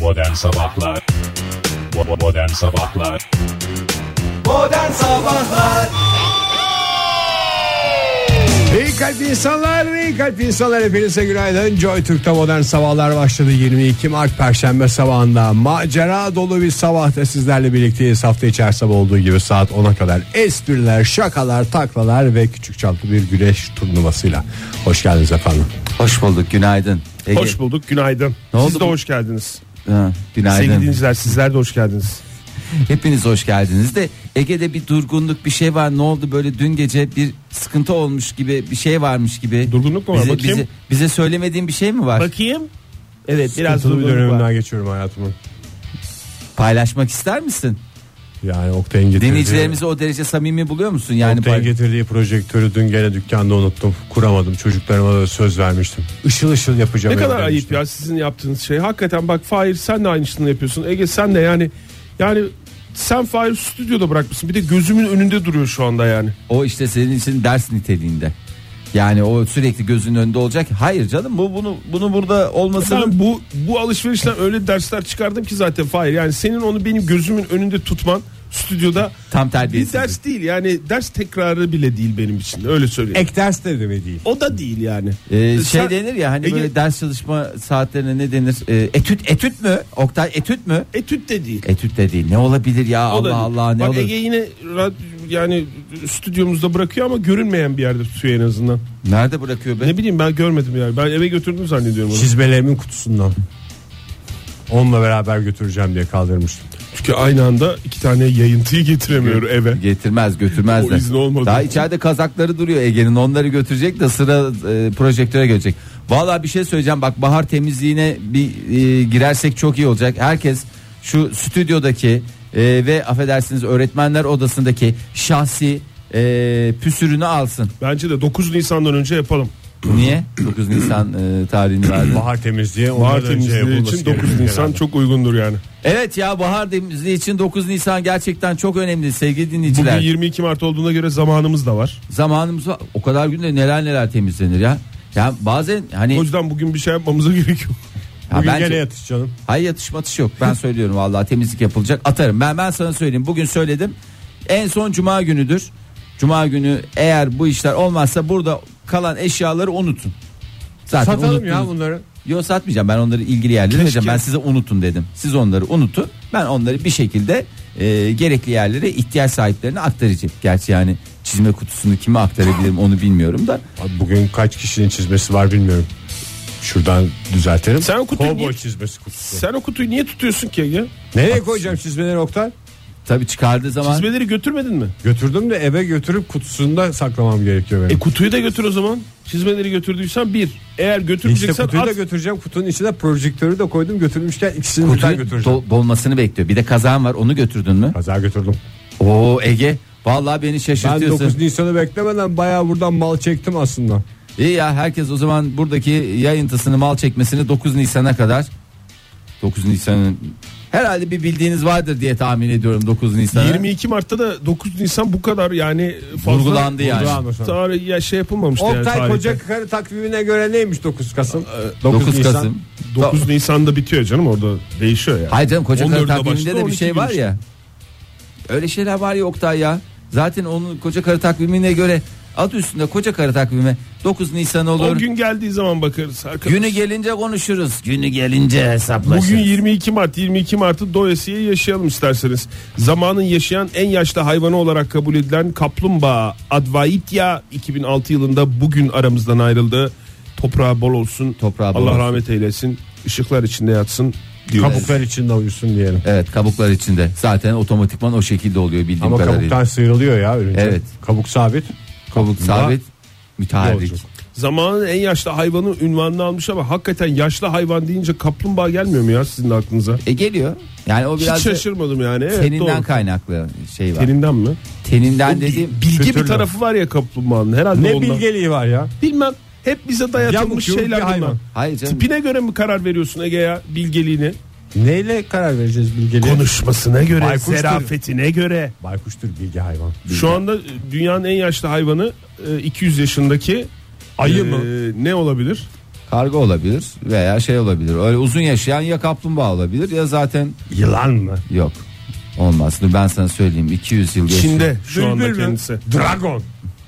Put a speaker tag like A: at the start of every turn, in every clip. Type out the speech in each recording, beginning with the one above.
A: Modern Sabahlar Bo- Modern Sabahlar
B: Modern Sabahlar
C: İyi kalp insanlar, iyi kalp insanlar hepinize günaydın. Joy Türk'te modern sabahlar başladı 22 Mart Perşembe sabahında. Macera dolu bir sabahta sizlerle birlikteyiz. Hafta içi her sabah olduğu gibi saat 10'a kadar espriler, şakalar, taklalar ve küçük çaplı bir güreş turnuvasıyla. Hoş geldiniz efendim.
D: Hoş bulduk günaydın. Ege,
E: Hoş bulduk günaydın.
D: oldu
E: Siz de
D: bu-
E: hoş geldiniz.
D: Ha, günaydın.
E: Sevgili dinleyiciler sizler de hoş geldiniz.
D: Hepiniz hoş geldiniz de Ege'de bir durgunluk bir şey var. Ne oldu böyle dün gece bir sıkıntı olmuş gibi bir şey varmış gibi.
E: Durgunluk mu var?
D: Bize,
E: Bakayım.
D: bize, bize söylemediğin bir şey mi var?
E: Bakayım. Evet biraz
C: Sıkıntılı bir
E: durgunluk var.
C: dönemden geçiyorum hayatımın.
D: Paylaşmak ister misin?
C: Yani Oktay'ın getirdiği,
D: Dinleyicilerimizi o derece samimi buluyor musun? Yani
C: Oktay'ın
D: pay-
C: getirdiği projektörü dün gene dükkanda unuttum. Kuramadım. Çocuklarıma da söz vermiştim. Işıl ışıl yapacağım.
E: Ne kadar
C: evde
E: ayıp
C: demiştim.
E: ya sizin yaptığınız şey. Hakikaten bak Fahir sen de aynısını yapıyorsun. Ege sen de yani yani sen Fahir stüdyoda bırakmışsın. Bir de gözümün önünde duruyor şu anda yani.
D: o işte senin için ders niteliğinde. Yani o sürekli gözünün önünde olacak. Hayır canım bu bunu bunu burada olmasının
E: Ben bu bu alışverişten öyle dersler çıkardım ki zaten Fahir. Yani senin onu benim gözümün önünde tutman stüdyoda
D: Tam
E: bir
D: terbiyesizlik.
E: ders değil. Yani ders tekrarı bile değil benim için. Öyle söyleyeyim.
C: Ek ders de demek değil.
E: o da değil yani.
D: Ee, E- şey
E: Sen-
D: denir ya hani
E: Ege-
D: böyle ders çalışma saatlerine ne denir? Ee, etüt etüt mü? Oktay etüt mü?
E: Etüt de değil.
D: Etüt de değil. Ne olabilir ya?
E: O da
D: E, Allah
E: değil.
D: Allah ne
E: Bak
D: olur?
E: Ege yine rad- yani stüdyomuzda bırakıyor ama görünmeyen bir yerde tutuyor en azından.
D: Nerede bırakıyor be?
E: Ne Şey, bileyim ben görmedim yani. Ben eve götürdüm zannediyorum onu.
C: Çizmelerimin kutusundan. Onunla beraber götüreceğim diye kaldırmıştım.
E: Çünkü aynı anda iki tane yayıntıyı getiremiyor eve.
D: Getirmez götürmez
E: O
D: de.
E: izni olmadı.
D: Daha içeride kazakları duruyor Ege'nin onları götürecek de sıra e, projektöre gelecek. Valla bir şey söyleyeceğim bak bahar temizliğine bir e, girersek çok iyi olacak. Herkes şu stüdyodaki e, ve affedersiniz öğretmenler odasındaki şahsi e, püsürünü alsın.
E: Bence de 9 Nisan'dan önce yapalım.
D: Niye? 9 Nisan e, tarihini verdi.
C: Bahar temizliği ondan
E: Bahar
C: önce
E: temizliği
C: yapılması
E: için 9
C: gerekiyor
E: Nisan
C: herhalde.
E: çok uygundur yani.
D: Evet ya bahar temizliği için 9 Nisan gerçekten çok önemli sevgili
E: Bugün
D: dinleyiciler.
E: 22 Mart olduğuna göre zamanımız da var.
D: Zamanımız var. O kadar günde neler neler temizlenir ya. Ya bazen hani
E: O yüzden bugün bir şey yapmamıza gerek yok.
D: ya
C: Bugün
D: bence-
C: gene yatış canım.
D: Hayır yatış matış yok. Ben söylüyorum vallahi temizlik yapılacak. Atarım. Ben ben sana söyleyeyim. Bugün söyledim. En son cuma günüdür. Cuma günü eğer bu işler olmazsa burada kalan eşyaları unutun. Zaten
C: Satalım
D: unuttunuz.
C: ya bunları.
D: Yok satmayacağım. Ben onları ilgili yerlere vereceğim. Ben size unutun dedim. Siz onları unutun. Ben onları bir şekilde e, gerekli yerlere ihtiyaç sahiplerine aktaracağım. Gerçi yani çizme kutusunu kime aktarabilirim onu bilmiyorum da.
C: Abi bugün kaç kişinin çizmesi var bilmiyorum. Şuradan düzeltelim.
E: Sen o kutuyu
C: Kovboy
E: niye-
C: çizmesi kutusu.
E: Sen o kutuyu niye tutuyorsun ki Ege?
C: Nereye koyacağım çizmeleri Oktay?
D: Tabii çıkardığı zaman
E: Çizmeleri götürmedin mi?
C: Götürdüm de eve götürüp kutusunda saklamam gerekiyor
E: E
C: benim.
E: kutuyu da götür o zaman. Çizmeleri götürdüysen bir. Eğer
C: işte
E: götürmeyeceksen
C: kutuyu
E: at.
C: da götüreceğim. Kutunun içine projektörü de koydum. Götürmüşken ikisini birden
D: kutunun
C: götüreceğim.
D: do- dolmasını bekliyor. Bir de kazan var. Onu götürdün mü?
C: Pazar götürdüm.
D: Oo Ege vallahi beni
C: Ben
D: şaşırtıyorsun.
C: 9 Nisan'ı beklemeden bayağı buradan mal çektim aslında.
D: İyi ya herkes o zaman buradaki yayıntısını mal çekmesini 9 Nisan'a kadar 9 Nisan'ın herhalde bir bildiğiniz vardır diye tahmin ediyorum 9 Nisan'a.
E: 22 Mart'ta da 9 Nisan bu kadar yani fazla
D: Vurgulandı yani.
C: Vurgulandı sonra.
E: Tarih ya şey yapılmamıştı yani
C: Oktay
E: tarihte.
C: Koca Karı takvimine göre neymiş 9 Kasım?
D: 9,
C: Nisan.
D: Kasım.
E: 9 Nisan'da bitiyor canım orada değişiyor yani.
D: Hayır canım koca karı
E: 14'de
D: takviminde
E: başladı,
D: de bir
E: 12
D: şey
E: gün
D: var
E: işte.
D: ya. Öyle şeyler var ya Oktay ya. Zaten onun koca karı takvimine göre adı üstünde koca karı takvimi 9 Nisan
E: O
D: olur.
E: gün geldiği zaman bakarız arkadaşlar.
D: Günü gelince konuşuruz. Günü gelince hesaplaşırız.
E: Bugün 22 Mart 22 Mart'ı doyasıya yaşayalım isterseniz. Zamanın yaşayan en yaşlı hayvanı olarak kabul edilen kaplumbağa Advaitya 2006 yılında bugün aramızdan ayrıldı. Toprağı bol olsun.
D: Toprağı bol
E: Allah
D: olsun.
E: rahmet eylesin. Işıklar içinde yatsın. diyoruz.
C: Kabuklar içinde uyusun diyelim.
D: Evet kabuklar içinde. Zaten otomatikman o şekilde oluyor bildiğim
C: Ama
D: kadarıyla.
C: kabuktan sıyrılıyor ya ürünce.
D: Evet.
C: Kabuk sabit.
D: Kabuk sabit müteharrik.
C: Yolculuk.
E: Zamanın en yaşlı hayvanı ünvanını almış ama hakikaten yaşlı hayvan deyince kaplumbağa gelmiyor mu ya sizin de aklınıza?
D: E geliyor. Yani o
E: Hiç
D: biraz da
E: şaşırmadım yani. Evet,
D: teninden
E: doğru.
D: kaynaklı şey var.
E: Teninden mi?
D: Teninden
E: Bil-
D: dediğim
E: bilgi
C: Kültürlü.
E: bir tarafı var ya kaplumbağanın herhalde
C: Ne
E: ondan.
C: bilgeliği var ya.
E: Bilmem hep bize
C: Yamuk
E: dayatılmış
C: yumuk bir
E: şeyler bunlar.
C: hayvan.
D: Hayır canım.
E: Tipine göre mi karar veriyorsun Ege ya bilgeliğini?
C: Neyle karar vereceğiz bilgeliğe?
E: Konuşmasına göre,
C: Baykuştur.
E: zerafetine göre.
C: Baykuştur bilgi hayvan.
E: Şu anda dünyanın en yaşlı hayvanı e, 200 yaşındaki
C: Ayı
E: e,
C: mı?
E: Ne olabilir?
D: Karga olabilir veya şey olabilir. Öyle uzun yaşayan ya kaplumbağa olabilir ya zaten
E: Yılan mı?
D: yok. Olmaz. Dur ben sana söyleyeyim 200 yıl geçti.
E: Çin'de şu
C: Bülbül
E: anda
C: mü?
E: kendisi.
C: Dragon.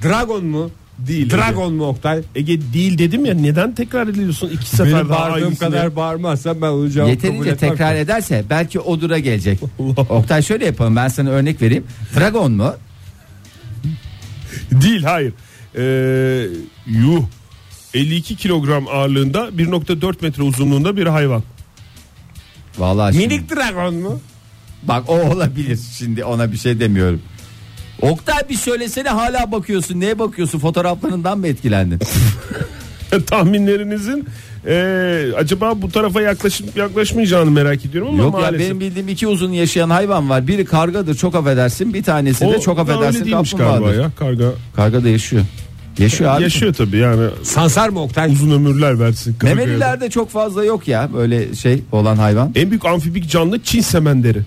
C: Dragon mu?
E: Değil.
C: Dragon mu Oktay?
E: Ege değil dedim ya neden tekrar ediyorsun iki sefer
C: Benim
E: daha
C: bağırdığım
E: aynısını?
C: kadar bağırmazsan ben onu cevap kabul
D: Yeterince
C: etmem.
D: tekrar ederse belki odura gelecek. Oktay şöyle yapalım ben sana örnek vereyim. Dragon mu?
E: Değil hayır. Ee, yuh. 52 kilogram ağırlığında 1.4 metre uzunluğunda bir hayvan.
D: Vallahi şimdi-
C: Minik dragon mu?
D: Bak o olabilir şimdi ona bir şey demiyorum. Oktay bir söylesene hala bakıyorsun. Neye bakıyorsun? Fotoğraflarından mı etkilendin?
E: Tahminlerinizin ee, acaba bu tarafa yaklaşıp yaklaşmayacağını merak ediyorum ama
D: Yok ya
E: maalesef.
D: benim bildiğim iki uzun yaşayan hayvan var. Biri kargadır çok affedersin. Bir tanesi de
E: O
D: çok
E: da öyle
D: affedersin
E: değilmiş
D: kaplumbağadır.
E: galiba ya karga.
D: Karga da yaşıyor. Yaşıyor abi.
E: Yaşıyor tabii yani
C: Sansar mı Oktay?
E: uzun ömürler versin. kargaya da.
D: Memelilerde çok fazla yok ya böyle şey olan hayvan.
E: En büyük amfibik canlı Çin semenderi.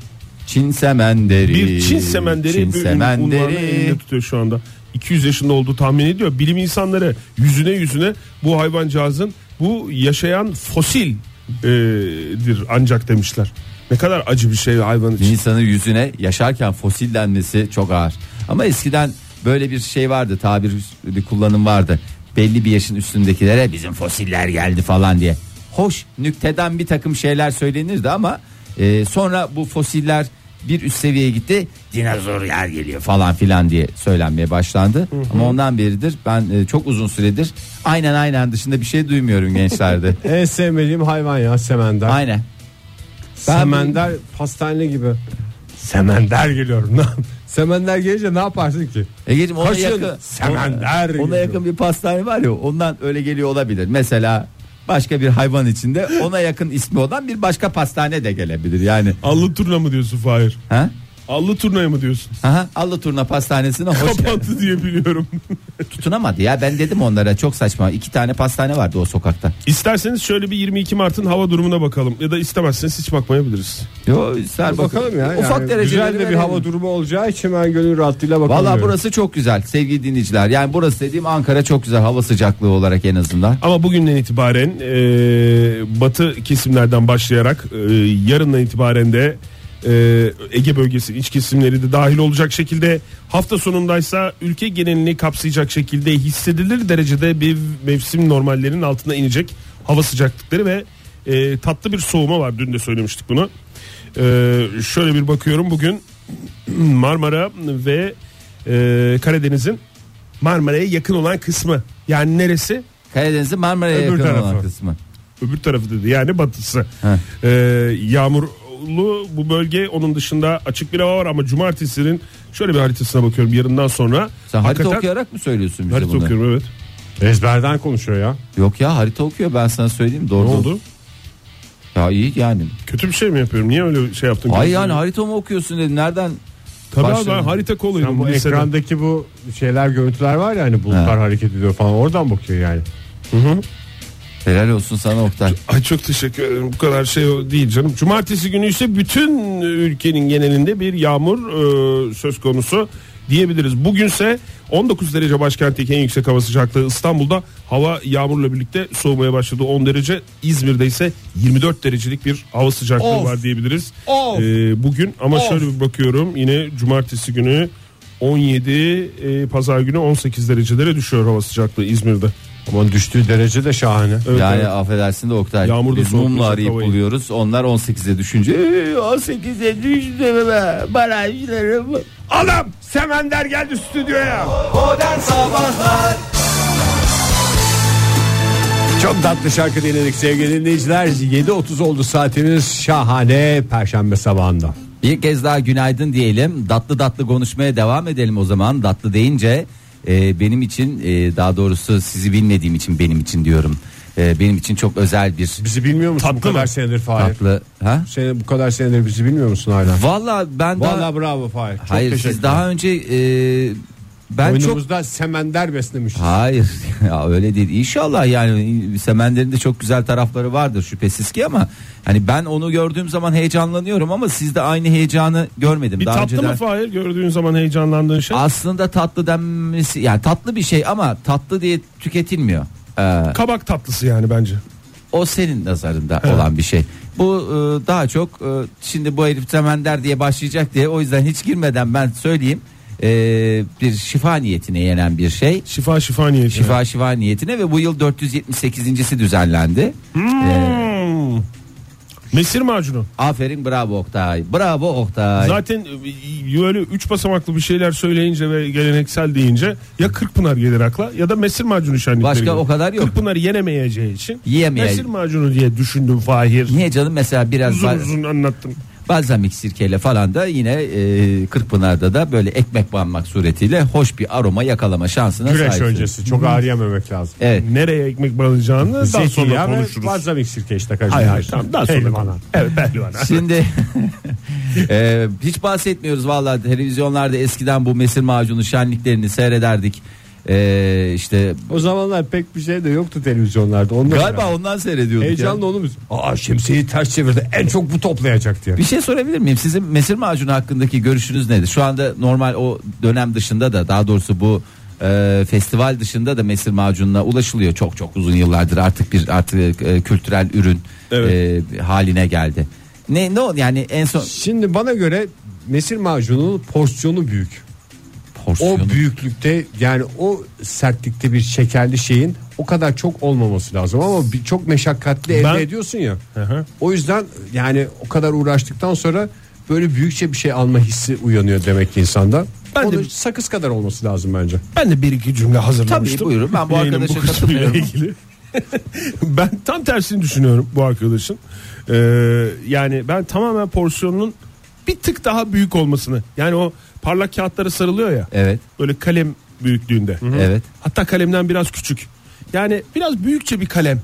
D: Çin semenderi.
E: Bir Çin semenderi
D: Ee, Çin
E: bir semenderi. elinde
D: semenderi.
E: tutuyor şu anda. 200 yaşında olduğu tahmin ediyor. Bilim insanları yüzüne yüzüne bu hayvancağızın bu yaşayan fosildir ancak demişler. Ne kadar acı bir şey hayvan
D: Bir
E: için.
D: insanın yüzüne yaşarken fosillenmesi çok ağır. Ama eskiden böyle bir şey vardı tabir bir kullanım vardı. Belli bir yaşın üstündekilere bizim fosiller geldi falan diye. Hoş nükteden bir takım şeyler söylenirdi ama e, sonra bu fosiller bir üst seviyeye gitti. Dinozorlar geliyor falan filan diye söylenmeye başlandı. Ama ondan beridir ben e, çok uzun süredir aynen aynen dışında bir şey duymuyorum gençlerde.
C: En sevmediğim hayvan ya semender.
D: aynen. Ben-
C: Semender pastane gibi. Semender geliyorum. semender gelince ne yaparsın ki?
D: Egeciğim E, ona
C: Kaşın,
D: yakın,
C: semender
D: ona,
C: yiyor.
D: ona yakın bir pastane var ya ondan öyle geliyor olabilir. Mesela başka bir hayvan içinde ona yakın ismi olan bir başka pastane de gelebilir yani.
E: Allı turna mı diyorsun Fahir?
D: Ha?
E: Allı turnaya mı diyorsun?
D: Aha, Allı Turna Pastanesi'ne hoş geldin.
E: Kapattı diye biliyorum.
D: Tutunamadı ya ben dedim onlara çok saçma. iki tane pastane vardı o sokakta.
E: İsterseniz şöyle bir 22 Mart'ın hava durumuna bakalım. Ya da istemezseniz hiç bakmayabiliriz.
D: Yo, ser
C: Bakalım ya.
D: Ufak
C: yani
D: dereceleri
C: Güzel de bir
D: verelim.
C: hava durumu olacağı için ben gönül rahatlığıyla bakalım.
D: Valla
C: diyorum.
D: burası çok güzel sevgili dinleyiciler. Yani burası dediğim Ankara çok güzel hava sıcaklığı olarak en azından.
E: Ama bugünden itibaren e, batı kesimlerden başlayarak e, yarından itibaren de e, Ege bölgesi iç kesimleri de dahil olacak şekilde hafta sonundaysa ülke genelini kapsayacak şekilde hissedilir derecede bir mevsim normallerinin altına inecek hava sıcaklıkları ve e, tatlı bir soğuma var dün de söylemiştik bunu. E, şöyle bir bakıyorum bugün Marmara ve e, Karadeniz'in Marmara'ya yakın olan kısmı yani neresi?
D: Karadeniz'in Marmara'ya
E: Öbür
D: yakın olan
E: tarafı.
D: kısmı.
E: öbür tarafı dedi yani batısı.
D: Heh.
E: Ee, yağmurlu bu bölge onun dışında açık bir hava var ama cumartesinin şöyle bir haritasına bakıyorum yarından sonra.
D: Sen harita
E: Hakikaten-
D: okuyarak mı söylüyorsun bize
E: Harita
D: bunları?
E: okuyorum evet.
C: Ezberden konuşuyor ya.
D: Yok ya harita okuyor ben sana söyleyeyim doğru.
E: Ne
D: doğru.
E: oldu?
D: Ya iyi yani.
E: Kötü bir şey mi yapıyorum? Niye öyle şey yaptın?
D: Ay
E: Gözünü-
D: yani harita mı okuyorsun dedim nereden?
E: Tabii abi ben
D: başladın?
E: harita
C: Yani
E: kolayım.
C: bu ekrandaki bu şeyler görüntüler var ya hani bulutlar
D: Ha.
C: hareket ediyor falan oradan bakıyor yani.
D: Helal olsun sana Oktay.
E: Ay çok teşekkür ederim. Bu kadar şey değil canım. Cumartesi günü ise bütün ülkenin genelinde bir yağmur e, söz konusu diyebiliriz. Bugünse 19 derece başkentteki en yüksek hava sıcaklığı İstanbul'da hava yağmurla birlikte soğumaya başladı. 10 derece İzmir'de ise 24 derecelik bir hava sıcaklığı
D: Of.
E: var diyebiliriz.
D: Of.
E: E, bugün ama
D: Of.
E: şöyle bir bakıyorum yine cumartesi günü 17 e, pazar günü 18 derecelere düşüyor hava sıcaklığı İzmir'de.
C: Ama düştüğü derece de şahane.
E: Evet,
D: yani
E: evet.
D: affedersin de Oktay.
E: Yağmur da
D: Biz
E: soğuk
D: mumla
E: olacak
D: arayıp
E: havayı.
D: buluyoruz. Onlar 18'e düşünce "Ee, 18'e düştü be barajlarım.
E: Adam Semender geldi stüdyoya.
B: Modern Sabahlar
C: Çok tatlı şarkı dinledik sevgili dinleyiciler. 7.30 oldu saatimiz şahane perşembe sabahında.
D: Bir kez daha günaydın diyelim. Datlı datlı konuşmaya devam edelim o zaman. Datlı deyince e, benim için e, daha doğrusu sizi bilmediğim için benim için diyorum. E, benim için çok özel bir
C: Bizi bilmiyor musun
E: Tatlı
C: bu kadar
E: mı?
C: senedir Fahir?
D: tatlı. Ha?
C: Seni, bu kadar senedir bizi bilmiyor musun hala?
D: Vallahi ben daha
C: Vallahi bravo Fahir. Çok
D: Hayır
C: teşekkür
D: siz daha önce e, ben çok
C: Oyunumuzda semender beslemişiz.
D: Hayır ya öyle değil İnşallah yani Semender'in de çok güzel tarafları vardır şüphesiz ki ama hani ben onu gördüğüm zaman heyecanlanıyorum ama sizde aynı heyecanı görmedim
E: Bir
D: daha
E: tatlı
D: önceden.
E: mı Fahir gördüğün zaman heyecanlandığın şey?
D: Aslında tatlı denmesi yani tatlı bir şey ama tatlı diye tüketilmiyor. Ee,
E: Kabak tatlısı yani bence.
D: o senin nazarında olan bir şey. Bu e, daha çok e, şimdi bu herif temender diye başlayacak diye o yüzden hiç girmeden ben söyleyeyim. E, bir şifa niyetine yenen bir şey.
E: Şifa şifa niyeti.
D: Şifa şifa niyetine ve bu yıl 478.si düzenlendi.
E: Hmm. Mesir macunu.
D: Aferin bravo Oktay. Bravo Oktay.
E: Zaten e, böyle üç basamaklı bir şeyler söyleyince ve geleneksel deyince ya Kırkpınar gelir akla ya da mesir macunu şenlikleri.
D: Başka
E: gelir.
D: o kadar yok.
E: Kırkpınar'ı yenemeyeceği için
D: Yiyemeyecek.
E: mesir macunu diye düşündüm Fahir.
D: Niye canım mesela biraz
E: Uzun
D: ba-
E: uzun anlattım.
D: balzamik sirkeyle falan da yine e, Kırkpınar'da da böyle ekmek banmak suretiyle hoş bir aroma yakalama şansına
C: Güreş
D: sahipsin.
C: öncesi çok ağır yememek lazım.
D: Evet.
E: Nereye ekmek bağlayacağını daha sonra
C: Zeytinyağı ve
E: konuşuruz.
C: balzamik sirke işte karıştırıyorsun.
E: Hayır hayır tamam daha sonra.
C: Helvana.
E: Evet pehlivana.
D: Şimdi e, hiç bahsetmiyoruz vallahi televizyonlarda eskiden bu mesir macunu şenliklerini seyrederdik. E, işte
C: O zamanlar pek bir şey de yoktu televizyonlarda. Ondan
D: galiba ondan seyrediyorduk. ya.
C: Heyecanla onu biz. Aa şemsiyeyi ters çevirdi. En çok bu toplayacak diye.
D: Bir şey sorabilir miyim? Sizin mesir macunu hakkındaki görüşünüz nedir? Şu anda normal o dönem dışında da daha doğrusu bu e, festival dışında da mesir macununa ulaşılıyor. Çok çok uzun yıllardır artık bir artık e, kültürel ürün
E: Evet.
D: e, haline geldi. Ne ne oldu yani en son
C: Şimdi bana göre mesir macununun porsiyonu büyük.
D: porsiyonu.
C: O büyüklükte yani o sertlikte bir şekerli şeyin o kadar çok olmaması lazım ama bir, çok meşakkatli
E: Ben-
C: elde ediyorsun ya.
E: hı.
C: O yüzden yani o kadar uğraştıktan sonra böyle büyükçe bir şey alma hissi uyanıyor demek ki insanda.
E: Ben
C: Ben
E: de-
C: sakız kadar olması lazım bence.
E: Ben de bir iki cümle hazırlamıştım.
D: Tabii, buyurun. Ben bu
E: Yayının
D: arkadaşa
E: kısmıyla
D: katılmıyorum.
E: ilgili. ben tam tersini düşünüyorum bu arkadaşın. Ee, yani ben tamamen porsiyonunun bir tık daha büyük olmasını. Yani o parlak kağıtlara sarılıyor ya.
D: Evet.
E: Böyle kalem büyüklüğünde.
D: Evet.
E: Hatta kalemden biraz küçük. Yani biraz büyükçe bir kalem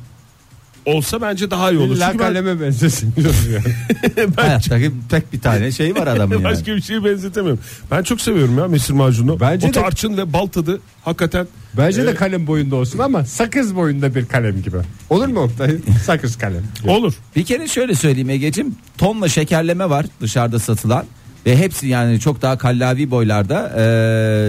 E: olsa bence daha iyi olur.
C: İlla
E: Çünkü ben
C: kaleme benzesin diyorsun yani.
D: Hayattaki tek bir tane şey var adamın yani.
E: başka bir şeye benzetemiyorum. Ben çok seviyorum ya mesir macunu.
C: Bence
E: o
C: de-
E: tarçın ve bal tadı hakikaten
C: Bence de kalem boyunda olsun ama sakız boyunda bir kalem gibi. Olur mu Oktay? sakız kalem.
E: olur.
D: Bir kere şöyle söyleyeyim Ege'cim tonla şekerleme var dışarıda satılan ve hepsi yani çok daha kallavi boylarda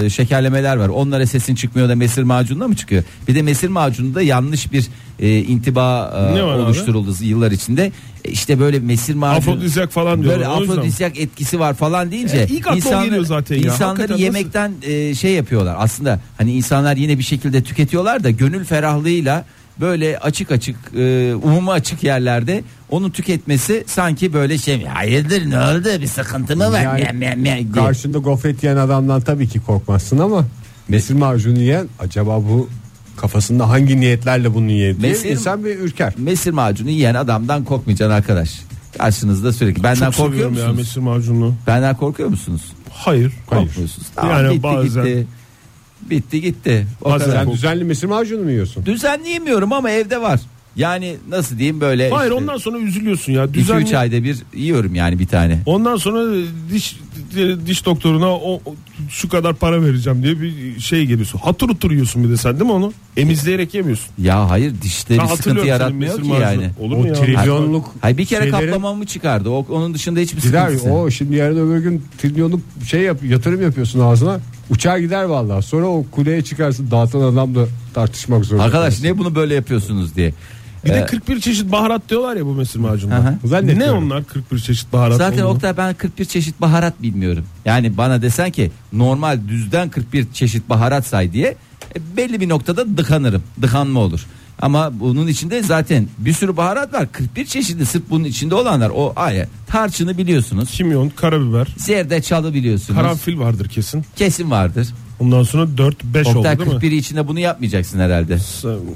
D: eee, şekerlemeler var. Onlara sesin çıkmıyor da mesir macununa mı çıkıyor? Bir de mesir macununda yanlış bir eee, intiba eee,
E: Ne var abi?
D: oluşturuldu yıllar içinde. E, İşte böyle mesir macunu
E: Afrodizyak falan diyorlar.
D: böyle
E: o yüzden.
D: afrodizyak etkisi var falan deyince
E: E, ilk akla o geliyor zaten ya.
D: insanları
E: Hakikaten
D: yemekten e, şey yapıyorlar. Aslında hani insanlar yine bir şekilde tüketiyorlar da gönül ferahlığıyla böyle açık açık e, umuma açık yerlerde onu tüketmesi sanki böyle şey hayırdır ne oldu bir sıkıntı mı var
C: Yani
D: Meh, meh, meh diye.
C: Karşında gofret yiyen adamdan tabii ki korkmazsın ama mesir macunu yiyen acaba bu kafasında hangi niyetlerle bunu yiyor diye
D: Mesir-
C: insan bir ürker.
D: mesir macunu yiyen adamdan korkmayacaksın arkadaş karşınızda sürekli benden
E: Çok
D: korkuyor
E: seviyorum ya
D: musunuz
E: mesir macununu.
D: benden korkuyor musunuz
E: Hayır.
D: korkmuyorsunuz tamam,
E: Yani
D: bitti,
E: bazen-
D: gitti. bitti gitti o
E: Bazen
D: kadar.
C: Sen düzenli mesir macunu mu yiyorsun?
D: Düzenleyemiyorum ama evde var. Yani nasıl diyeyim böyle
E: Hayır
D: işte
E: ondan sonra üzülüyorsun ya.
D: iki,
E: Düzenli.
D: üç ayda bir yiyorum yani bir tane.
E: Ondan sonra diş diş doktoruna o, o- şu kadar para vereceğim diye bir şey geliyorsun. Hatır hutur yiyorsun bir de sen değil mi onu? Emizleyerek yemiyorsun.
D: Ya hayır
E: Ben
D: dişleri sıkıntı
E: hatırlıyorum
D: yaratmıyor
E: senin
D: ki
E: mesir macunu.
D: yani.
E: Olur mu
C: O
E: ya?
C: trilyonluk
D: Hayır bir kere
C: şeyleri-
D: kaplamamı çıkardı. O, onun dışında hiçbir
C: Gider
D: sıkıntısı.
C: o şimdi yarın öbür gün trilyonluk şey yap, yatırım yapıyorsun ağzına. Uçağa gider vallahi. Sonra o kuleye çıkarsın dağıtan adamla tartışmak zorunda.
D: Arkadaş niye bunu böyle yapıyorsunuz diye.
E: Bir
D: Ee,
E: de 41 çeşit baharat diyorlar ya bu mesir
D: Hı hı.
E: macununda. Ne
C: Zannetmiyorum.
E: onlar 41 çeşit baharat?
D: Zaten
E: olduğunu?
D: Oktay ben 41 çeşit baharat bilmiyorum. Yani bana desen ki normal düzden 41 çeşit baharat say diye e, belli bir noktada dıkanırım. Dıkanma olur. Ama bunun içinde zaten bir sürü baharat var. 41 çeşidi sırf bunun içinde olanlar. O aya tarçını biliyorsunuz.
E: Kimyon, karabiber,
D: Zerdeçalı biliyorsunuz.
E: karanfil vardır kesin.
D: Kesin vardır.
E: Ondan sonra 4 5
C: şey
E: oldu
D: Oktay
E: değil mi?
D: 41 içinde bunu yapmayacaksın herhalde.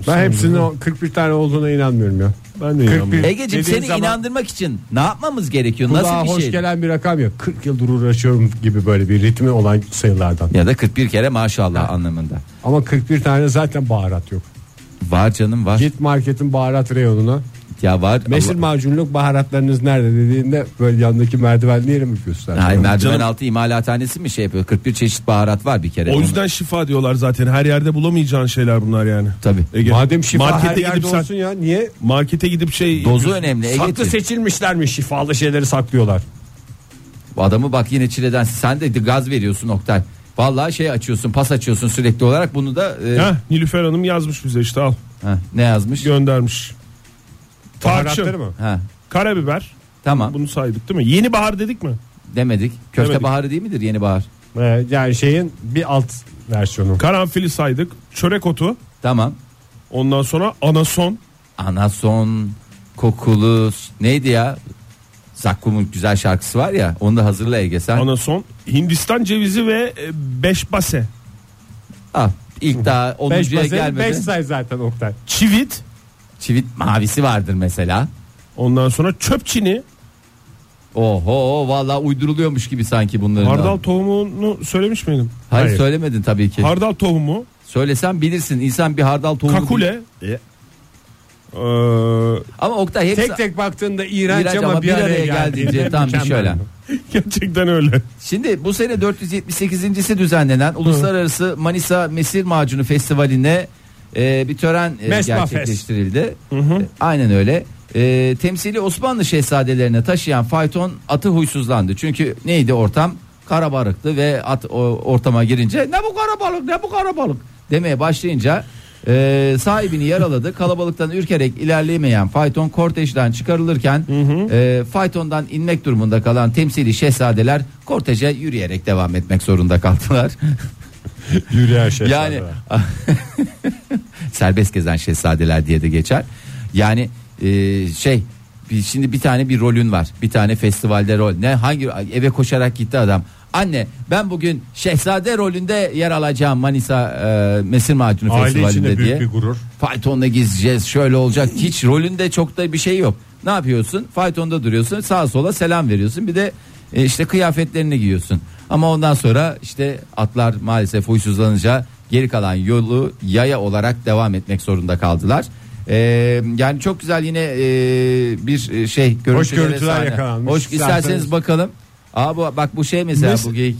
C: Ben hepsinin o 41 tane olduğuna inanmıyorum ya.
E: ben de inanmıyorum.
D: Egeciğim
C: Dediğin
D: seni
C: zaman-
D: inandırmak için ne yapmamız gerekiyor?
C: Kulağa
D: Nasıl bir
C: hoş
D: şey?
C: gelen bir rakam ya. 40 yıldır uğraşıyorum gibi böyle bir ritmi olan sayılardan.
D: Ya da 41 kere maşallah anlamında.
C: Ama 41 tane zaten baharat yok.
D: Var canım var.
C: Git marketin baharat reyonuna.
D: Ya var.
C: Meşhur
D: Allah-
C: macunluk baharatlarınız nerede dediğinde böyle yandaki merdivenli yeri mi göster?
D: Hayır merdiven
E: Canım-
D: altı imalathanesi mi şey yapıyor? 41 çeşit baharat var bir kere.
E: O yüzden şifa diyorlar zaten. Her yerde bulamayacağın şeyler bunlar yani.
D: Tabii.
E: Ege,
C: Madem şifa
E: markete
C: her yerde
E: gidip sen-
C: olsun ya niye?
E: markete gidip şey
D: Onun dozu önemli.
C: Saklı
D: Ege'ciğim.
C: seçilmişler mi şifalı şeyleri saklıyorlar?
D: Bu Adamı bak yine çileden sen de gaz veriyorsun Oktay. Vallahi şey açıyorsun pas açıyorsun sürekli olarak bunu da e,
E: Heh, Nilüfer Hanım yazmış bize işte al
D: heh, ne yazmış?
E: göndermiş. Tarçın,
C: mı?
D: Ha,
E: karabiber.
D: tamam
E: Bunu saydık değil mi? Yeni bahar dedik mi?
D: demedik. Köfte
E: Demedik.
D: baharı değil midir yeni bahar?
C: Ee, yani şeyin bir alt versiyonu.
E: Karanfili saydık. Çörek otu.
D: Tamam.
E: Ondan sonra anason.
D: Anason kokulu neydi ya? Zakkum'un güzel şarkısı var ya onu da hazırla Ege sen.
E: Anason. Hindistan cevizi ve e, beşbase.
D: Ah, ilk daha
C: 5
D: 10'uncuya gelmedi.
C: beş say zaten Oktay.
E: Çivit.
D: Çivit mavisi vardır mesela.
E: Ondan sonra çöp çini.
D: Oho valla uyduruluyormuş gibi sanki bunların.
E: Hardal tohumunu söylemiş miydim?
D: Hayır,
E: Hayır.
D: söylemedin tabii ki.
E: Hardal tohumu.
D: Söylesen bilirsin insan bir hardal tohumu.
E: Kakule.
D: E?
E: Ee,
D: Ama Oktay hepsi
C: Tek tek baktığında iğrenç,
D: iğrenç
C: ama, bir araya,
D: geldiğince tam bir şöyle.
E: gerçekten öyle.
D: Şimdi bu sene 478.si düzenlenen Uluslararası Manisa Mesir Macunu Festivali'ne e, bir tören e,
C: Mesma Fest.
D: gerçekleştirildi. E, Aynen öyle. E, temsili Osmanlı şehzadelerine taşıyan fayton atı huysuzlandı. Çünkü neydi ortam? Karabalıktı ve at o, ortama girince ne bu karabalık ne bu karabalık demeye başlayınca e, sahibini yaraladı. Kalabalıktan ürkerek ilerleyemeyen fayton kortejden çıkarılırken e, faytondan inmek durumunda kalan temsili şehzadeler korteje yürüyerek devam etmek zorunda kaldılar.
C: Yürüyen şey.
D: Yani serbest gezen şehzadeler diye de geçer. Yani e, şey bir- şimdi bir tane bir rolün var. Bir tane festivalde rol. Ne hangi eve koşarak gitti adam. Anne ben bugün şehzade rolünde yer alacağım Manisa e, Mesir Macunu
C: aile içinde
D: Festivali'nde
C: büyük
D: diye.
C: bir gurur.
D: Faytonla gezeceğiz şöyle olacak hiç rolünde çok da bir şey yok. Ne yapıyorsun? Faytonda duruyorsun sağa sola selam veriyorsun bir de e, işte kıyafetlerini giyiyorsun. Ama ondan sonra işte atlar maalesef huysuzlanınca geri kalan yolu yaya olarak devam etmek zorunda kaldılar. E, yani çok güzel yine e, bir şey görüntüler,
C: görüntüler yakalanmış.
D: Hoş isterseniz
C: İsterseniz-
D: bakalım. Aa bu bak bu şey mesela
E: Mes-
D: bu geyik.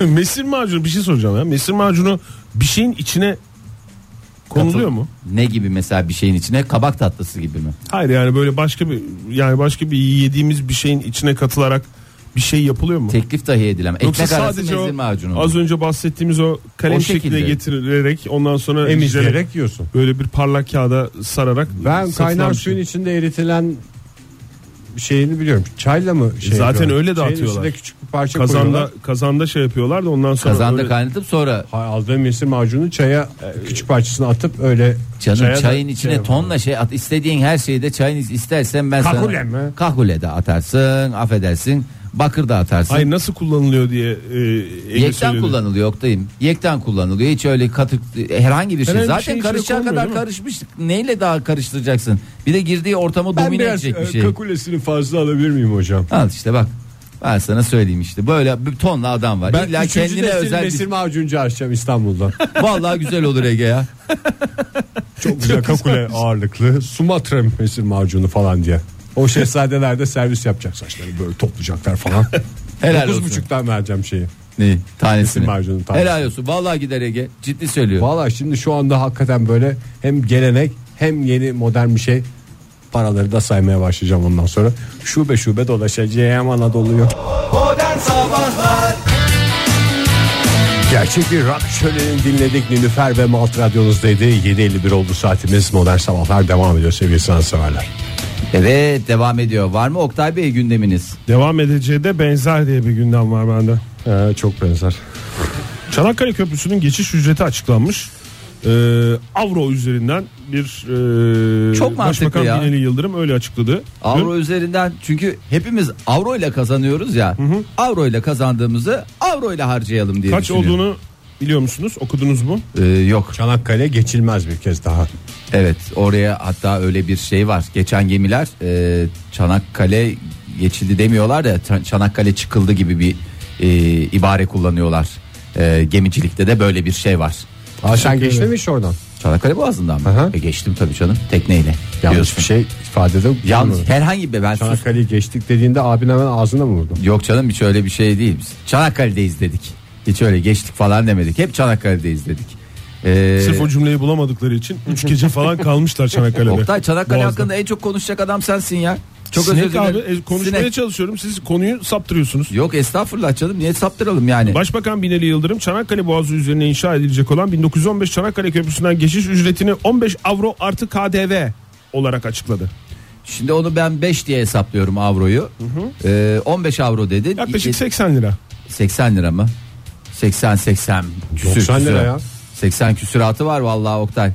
E: Mesir macunu bir şey soracağım ya. Mesir macunu bir şeyin içine konuluyor
D: Katıl-
E: mu?
D: Ne gibi mesela bir şeyin içine kabak tatlısı gibi mi?
E: Hayır yani böyle başka bir yani başka bir yediğimiz bir şeyin içine katılarak bir şey yapılıyor mu?
D: Teklif dahi edilemez.
E: Yoksa
D: Ekmek arası
E: sadece
D: mezir
E: o
D: macunu. mu?
E: az önce bahsettiğimiz o kalem
D: O şekilde.
E: şekline getirilerek ondan sonra üzerine
C: Emizleyerek yiyorsun.
E: böyle bir parlak kağıda sararak
C: Ben
E: satılan
C: kaynar
E: bir
C: suyun
E: şey.
C: içinde eritilen şeyini biliyorum. Çayla mı şey
E: E zaten
C: yapıyorlar?
E: öyle de
C: Şeyin
E: atıyorlar.
C: içinde küçük bir parça
E: kazanda
C: koyuyorlar.
E: kazanda şey yapıyorlar da ondan sonra
D: Kazanda
E: öyle-
D: kaynatıp sonra
C: Ha, Aldığım mesir macunu çaya e, küçük parçasını atıp öyle
D: canım
C: çaya da
D: çayın
C: şey
D: içine
C: yapıyorlar.
D: tonla şey at istediğin her şeyi de çayın istersen ben
C: Kakule
D: sana
C: mi?
D: kahule de atarsın affedersin bakır da atarsın.
E: Hayır nasıl kullanılıyor diye e, Ege
D: Yekten
E: söyledi.
D: kullanılıyor Oktay'ım. Yekten kullanılıyor. Hiç öyle katık herhangi bir şey.
E: Herhangi bir
D: Zaten
E: şeyin içine
D: karışacağı
E: konmuyor,
D: kadar
E: değil mi?
D: karışmış. Neyle daha karıştıracaksın? Bir de girdiği ortamı
C: Ben
D: domine
C: biraz
D: edecek bir
C: e,
D: şey.
C: kakulesini fazla alabilir miyim hocam?
D: Al işte bak. Ben sana söyleyeyim işte. Böyle bir tonla adam var.
C: Ben
D: İlla
C: üçüncü
D: kendine
C: nesil
D: özel.
C: mesir
D: Bir...
C: macuncu açacağım İstanbul'da.
D: Vallahi güzel olur Ege ya.
C: Çok güzel kakule ağırlıklı Sumatra mesir macunu falan diye. O şehzadeler de servis yapacak saçları böyle toplayacaklar falan.
D: Helal
C: Dokuz
D: olsun.
C: buçuktan vereceğim şeyi.
D: Ne? Tanesini.
C: Kesin macunun tanesi.
D: Helal olsun. Vallahi gider Ege. Ciddi söylüyorum.
C: Valla şimdi şu anda hakikaten böyle hem gelenek hem yeni modern bir şey paraları da saymaya başlayacağım ondan sonra. Şube şube dolaşacağım Anadolu'yu.
B: Modern Sabahlar
C: Gerçek bir rock şöleni dinledik Nilüfer ve Malt Radyonuzdaydı. 7.51 oldu saatimiz modern sabahlar devam ediyor sevgili sanatseverler.
D: Evet devam ediyor. Var mı Oktay Bey gündeminiz?
E: Devam edeceği de benzer diye bir gündem var bende.
C: Ee, çok benzer.
E: Çanakkale Köprüsü'nün geçiş ücreti açıklanmış. Ee, Avro üzerinden bir e,
D: Çok mantıklı
E: Başbakan
D: ya.
E: Binali Yıldırım öyle açıkladı.
D: Avro üzerinden çünkü hepimiz avro ile kazanıyoruz ya. Avro ile kazandığımızı avro ile harcayalım diye
E: Kaç
D: düşünüyorum.
E: olduğunu biliyor musunuz? Okudunuz mu?
D: Ee, yok.
C: Çanakkale geçilmez bir kez daha.
D: Evet oraya hatta öyle bir şey var. Geçen gemiler e, Çanakkale geçildi demiyorlar da Ç- Çanakkale çıkıldı gibi bir e, ibare kullanıyorlar. E, gemicilikte de böyle bir şey var.
C: Aa, sen geçtin mi hiç oradan?
D: Çanakkale Boğazı'ndan mı?
C: Aha.
D: E, geçtim tabii canım tekneyle.
C: Yanlış
D: Diyorsun.
C: bir şey ifadede
D: Yalnız herhangi bir ben sus-
C: Çanakkale'yi geçtik dediğinde abin hemen ağzına mı vurdu?
D: Yok canım hiç öyle bir şey değil. Biz Çanakkale'deyiz dedik. Hiç öyle geçtik falan demedik. Hep Çanakkale'deyiz dedik. Ee,
E: Sırf o cümleyi bulamadıkları için 3 gece falan kalmışlar Çanakkale'de.
D: Oktay Çanakkale
E: Boğaz'da.
D: hakkında en çok konuşacak adam sensin ya. Çok
E: Sinek
D: özür dilerim.
E: abi e, konuşmaya
D: Sinek.
E: çalışıyorum. Siz konuyu saptırıyorsunuz.
D: Yok estağfurullah canım niye saptıralım yani.
E: Başbakan Binali Yıldırım Çanakkale Boğazı üzerine inşa edilecek olan 1915 Çanakkale Köprüsü'nden geçiş ücretini 15 avro artı KDV olarak açıkladı.
D: Şimdi onu ben 5 diye hesaplıyorum avroyu. Ee, 15 avro dedin.
E: Yaklaşık
D: İki-
E: 80 lira.
D: 80 lira mı? 80 80 küsür
C: 90 lira
D: küsür.
C: ya.
D: 80 küsüratı var vallahi Oktay.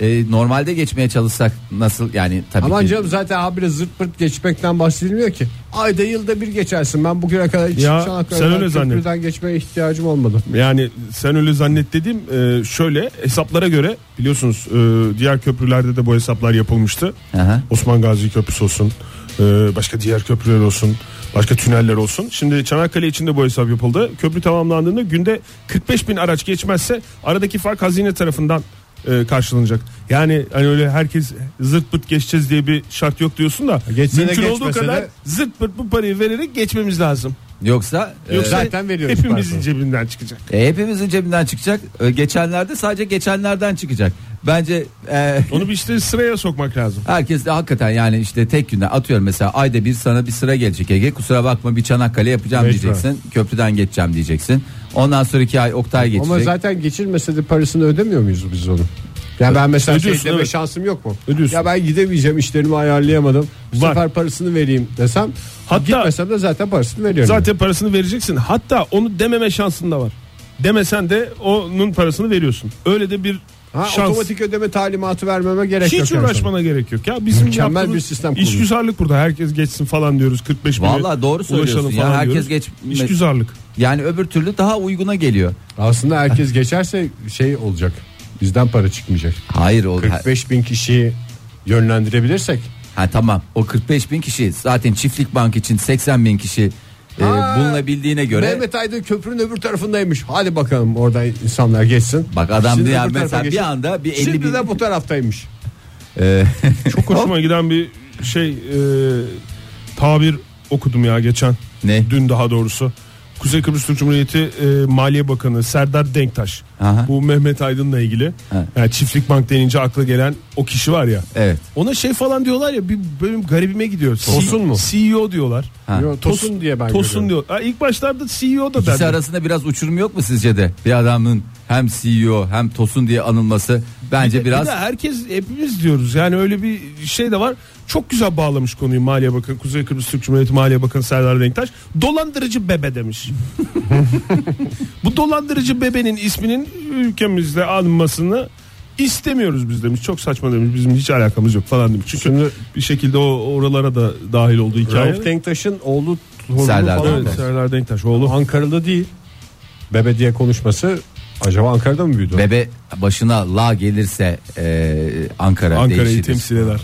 D: Ee, normalde geçmeye çalışsak nasıl yani tabii
C: Aman
D: ki.
C: canım zaten habire zırt pırt geçmekten bahsedilmiyor ki. Ayda yılda bir geçersin. Ben bugüne kadar hiç
E: Ya, sen öyle zannet.
C: köprüden geçmeye ihtiyacım olmadı.
E: Yani sen öyle zannet dediğim e, şöyle hesaplara göre biliyorsunuz e, diğer köprülerde de bu hesaplar yapılmıştı.
D: Aha.
E: Osman Gazi Köprüsü olsun e, başka diğer köprüler olsun başka tüneller olsun. Şimdi Çanakkale için de bu hesap yapıldı. Köprü tamamlandığında günde 45 bin araç geçmezse aradaki fark hazine tarafından e, karşılanacak. Yani hani öyle herkes zırt pırt geçeceğiz diye bir şart yok diyorsun da
C: Geçse de
E: mümkün olduğu
C: geçmese
E: kadar
C: de-
E: zırt pırt bu parayı vererek geçmemiz lazım.
D: Yoksa, e,
E: Yoksa
C: zaten veriyoruz
E: hepimizin
C: parasını.
E: cebinden çıkacak.
D: e, hepimizin cebinden çıkacak. E, geçenlerde sadece geçenlerden çıkacak. Bence e,
E: Onu bir işte sıraya sokmak lazım.
D: Herkes de hakikaten yani işte tek günde atıyorum mesela ayda bir sana bir sıra gelecek Ege kusura bakma bir Çanakkale yapacağım
E: Mecbur.
D: diyeceksin köprüden geçeceğim diyeceksin ondan sonraki ay Oktay geçecek
C: Ama zaten geçilmese de parasını ödemiyor muyuz biz onu? Ya ben mesela şey
E: Ödüyorsun,
C: deme
E: evet.
C: şansım yok mu?
E: Ödüyorsun.
C: Ya ben gidemeyeceğim işlerimi ayarlayamadım. Bu
E: Var.
C: sefer parasını vereyim desem.
E: Hatta-
C: gitmesem de zaten parasını veriyorum.
E: Zaten parasını vereceksin. Hatta onu dememe şansın da var. Demesen de onun parasını veriyorsun. Öyle de bir
C: ha,
E: şans.
C: otomatik ödeme talimatı vermeme gerek yok.
E: Hiç
C: yani
E: uğraşmana gerek yok. Ya bizim
C: Mükemmel
E: yaptığımız
C: bir sistem kurulmuş.
E: İşgüzarlık burada. Herkes geçsin falan diyoruz. 45 bine
D: Vallahi doğru söylüyorsun
E: ulaşalım
D: ya.
E: falan
D: Herkes
E: diyoruz.
D: geçme-
E: İşgüzarlık.
D: yani öbür türlü daha uyguna geliyor
C: sana. Aslında herkes geçerse şey olacak. Bizden para çıkmayacak.
D: hayır o ha,
C: 45 bin kişiyi yönlendirebilirsek.
D: ha, tamam o 45 bin kişi zaten çiftlik bank için 80 bin kişi e,
C: Ha,
D: bulunabildiğine göre
C: Mehmet Aydın köprünün öbür tarafındaymış. Hadi bakalım orada insanlar geçsin.
D: bak adam
C: Şimdi
D: diye
C: öbür tarafa
D: mesela bir
C: geçin.
D: anda bir 50
C: Şimdi
D: bin
C: de bu taraftaymış.
D: E,
E: Çok hoşuma giden bir şey e, tabir okudum ya geçen.
D: ne
E: Dün daha doğrusu. Kuzey Kıbrıs Türk Cumhuriyeti e, Maliye Bakanı Serdar Denktaş.
D: Aha.
E: Bu Mehmet Aydın'la ilgili.
D: Evet.
E: Yani çiftlik bank denince akla gelen o kişi var ya.
D: evet
E: Ona şey falan diyorlar ya bir benim garibime gidiyor.
C: Tosun mu?
E: CEO diyorlar.
D: Ha.
C: Yo, tosun diye ben
E: Tosun
C: görüyorum.
E: diyor. Ha, ilk başlarda CEO da
D: İkisi
E: derdi.
D: arasında biraz uçurum yok mu sizce de? Bir adamın hem CEO hem Tosun diye anılması bence biraz
E: Bir de herkes hepimiz diyoruz. Yani öyle bir şey de var. Çok güzel bağlamış konuyu Maliye Bakanı. Kuzey Kıbrıs Türk Cumhuriyeti Maliye Bakanı Serdar Denktaş. Dolandırıcı bebe demiş. Bu dolandırıcı bebenin isminin ülkemizde alınmasını istemiyoruz biz demiş. Çok saçma demiş. Bizim hiç alakamız yok falan demiş. Çünkü bir şekilde o oralara da dahil oldu hikaye.
C: Rauf Denktaş'ın oğlu torunu
D: Serdar
C: falan
E: Evet,
C: mı?
E: Serdar Denktaş oğlu.
C: Ankaralı değil. Bebe diye konuşması acaba Ankara'da mı büyüdü?
D: Bebe başına la gelirse e, Ankara
E: Ankara'yı
D: değişir.
E: temsil eder.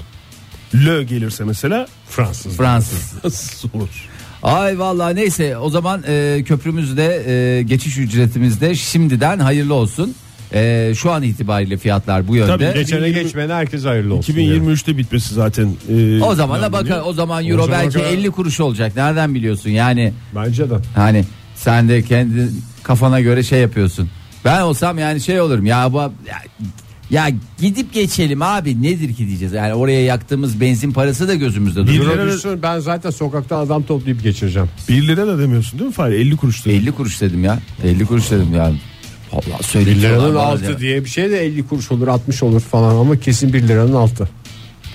E: Lö gelirse mesela
C: Fransız.
D: Fransız.
E: olur.
D: Ay vallahi neyse o zaman e, köprümüzde e, geçiş ücretimizde şimdiden hayırlı olsun. E, şu an itibariyle fiyatlar bu yönde.
E: Tabii, geç-
C: Geçene geçmene herkes hayırlı olsun. diyorum.
E: 2023'te bitmesi zaten. e,
D: o zaman da
E: planlanıyor.
D: bakar o zaman euro
C: zaman
D: belki
C: bakar.
D: 50 kuruş olacak. Nereden biliyorsun? Yani
C: Bence de.
D: hani sen de kendi kafana göre şey yapıyorsun. Ben olsam yani şey olurum. Ya bu ya, ya gidip geçelim abi nedir ki diyeceğiz. Yani oraya yaktığımız benzin parası da gözümüzde duruyor.
E: lira
C: Euro
E: da-
C: düşsün, ben zaten sokakta adam toplayıp geçireceğim.
E: 1 lira da demiyorsun değil mi Fahri? 50 kuruş dedi.
D: 50 kuruş dedim ya. 50 kuruş dedim yani. Allah söyledi.
C: 1 liranın altı diye bir şey de 50 kuruş olur 60 olur falan ama kesin 1 liranın altı.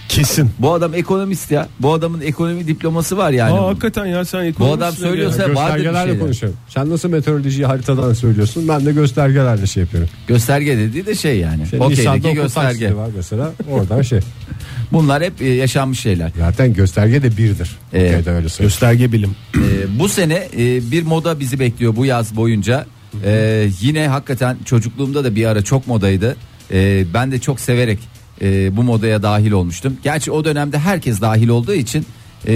E: Kesin.
D: Bu adam ekonomist ya. Bu adamın ekonomi diploması var yani.
E: Aa, hakikaten ya sen
D: bu
E: ekonomistsin
D: adam
E: ya.
D: söylüyorsa vardır bir
C: Göstergelerle
D: şey.
C: konuşuyorum. Sen nasıl meteorolojiyi haritadan söylüyorsun ben de göstergelerle şey yapıyorum.
D: Gösterge dediği de şey yani.
C: Senin Nisan'da
D: Okeydeki
C: okul
D: gösterge.
C: taksidi var mesela oradan şey.
D: Bunlar hep e, yaşanmış şeyler.
C: Zaten gösterge de birdir.
D: Evet.
C: Okey'de öyle söylüyor.
E: Gösterge bilim.
D: E, bu sene e, bir moda bizi bekliyor bu yaz boyunca. E, yine hakikaten çocukluğumda da bir ara çok modaydı. E, ben de çok severek e, bu modaya dahil olmuştum. Gerçi o dönemde herkes dahil olduğu için e,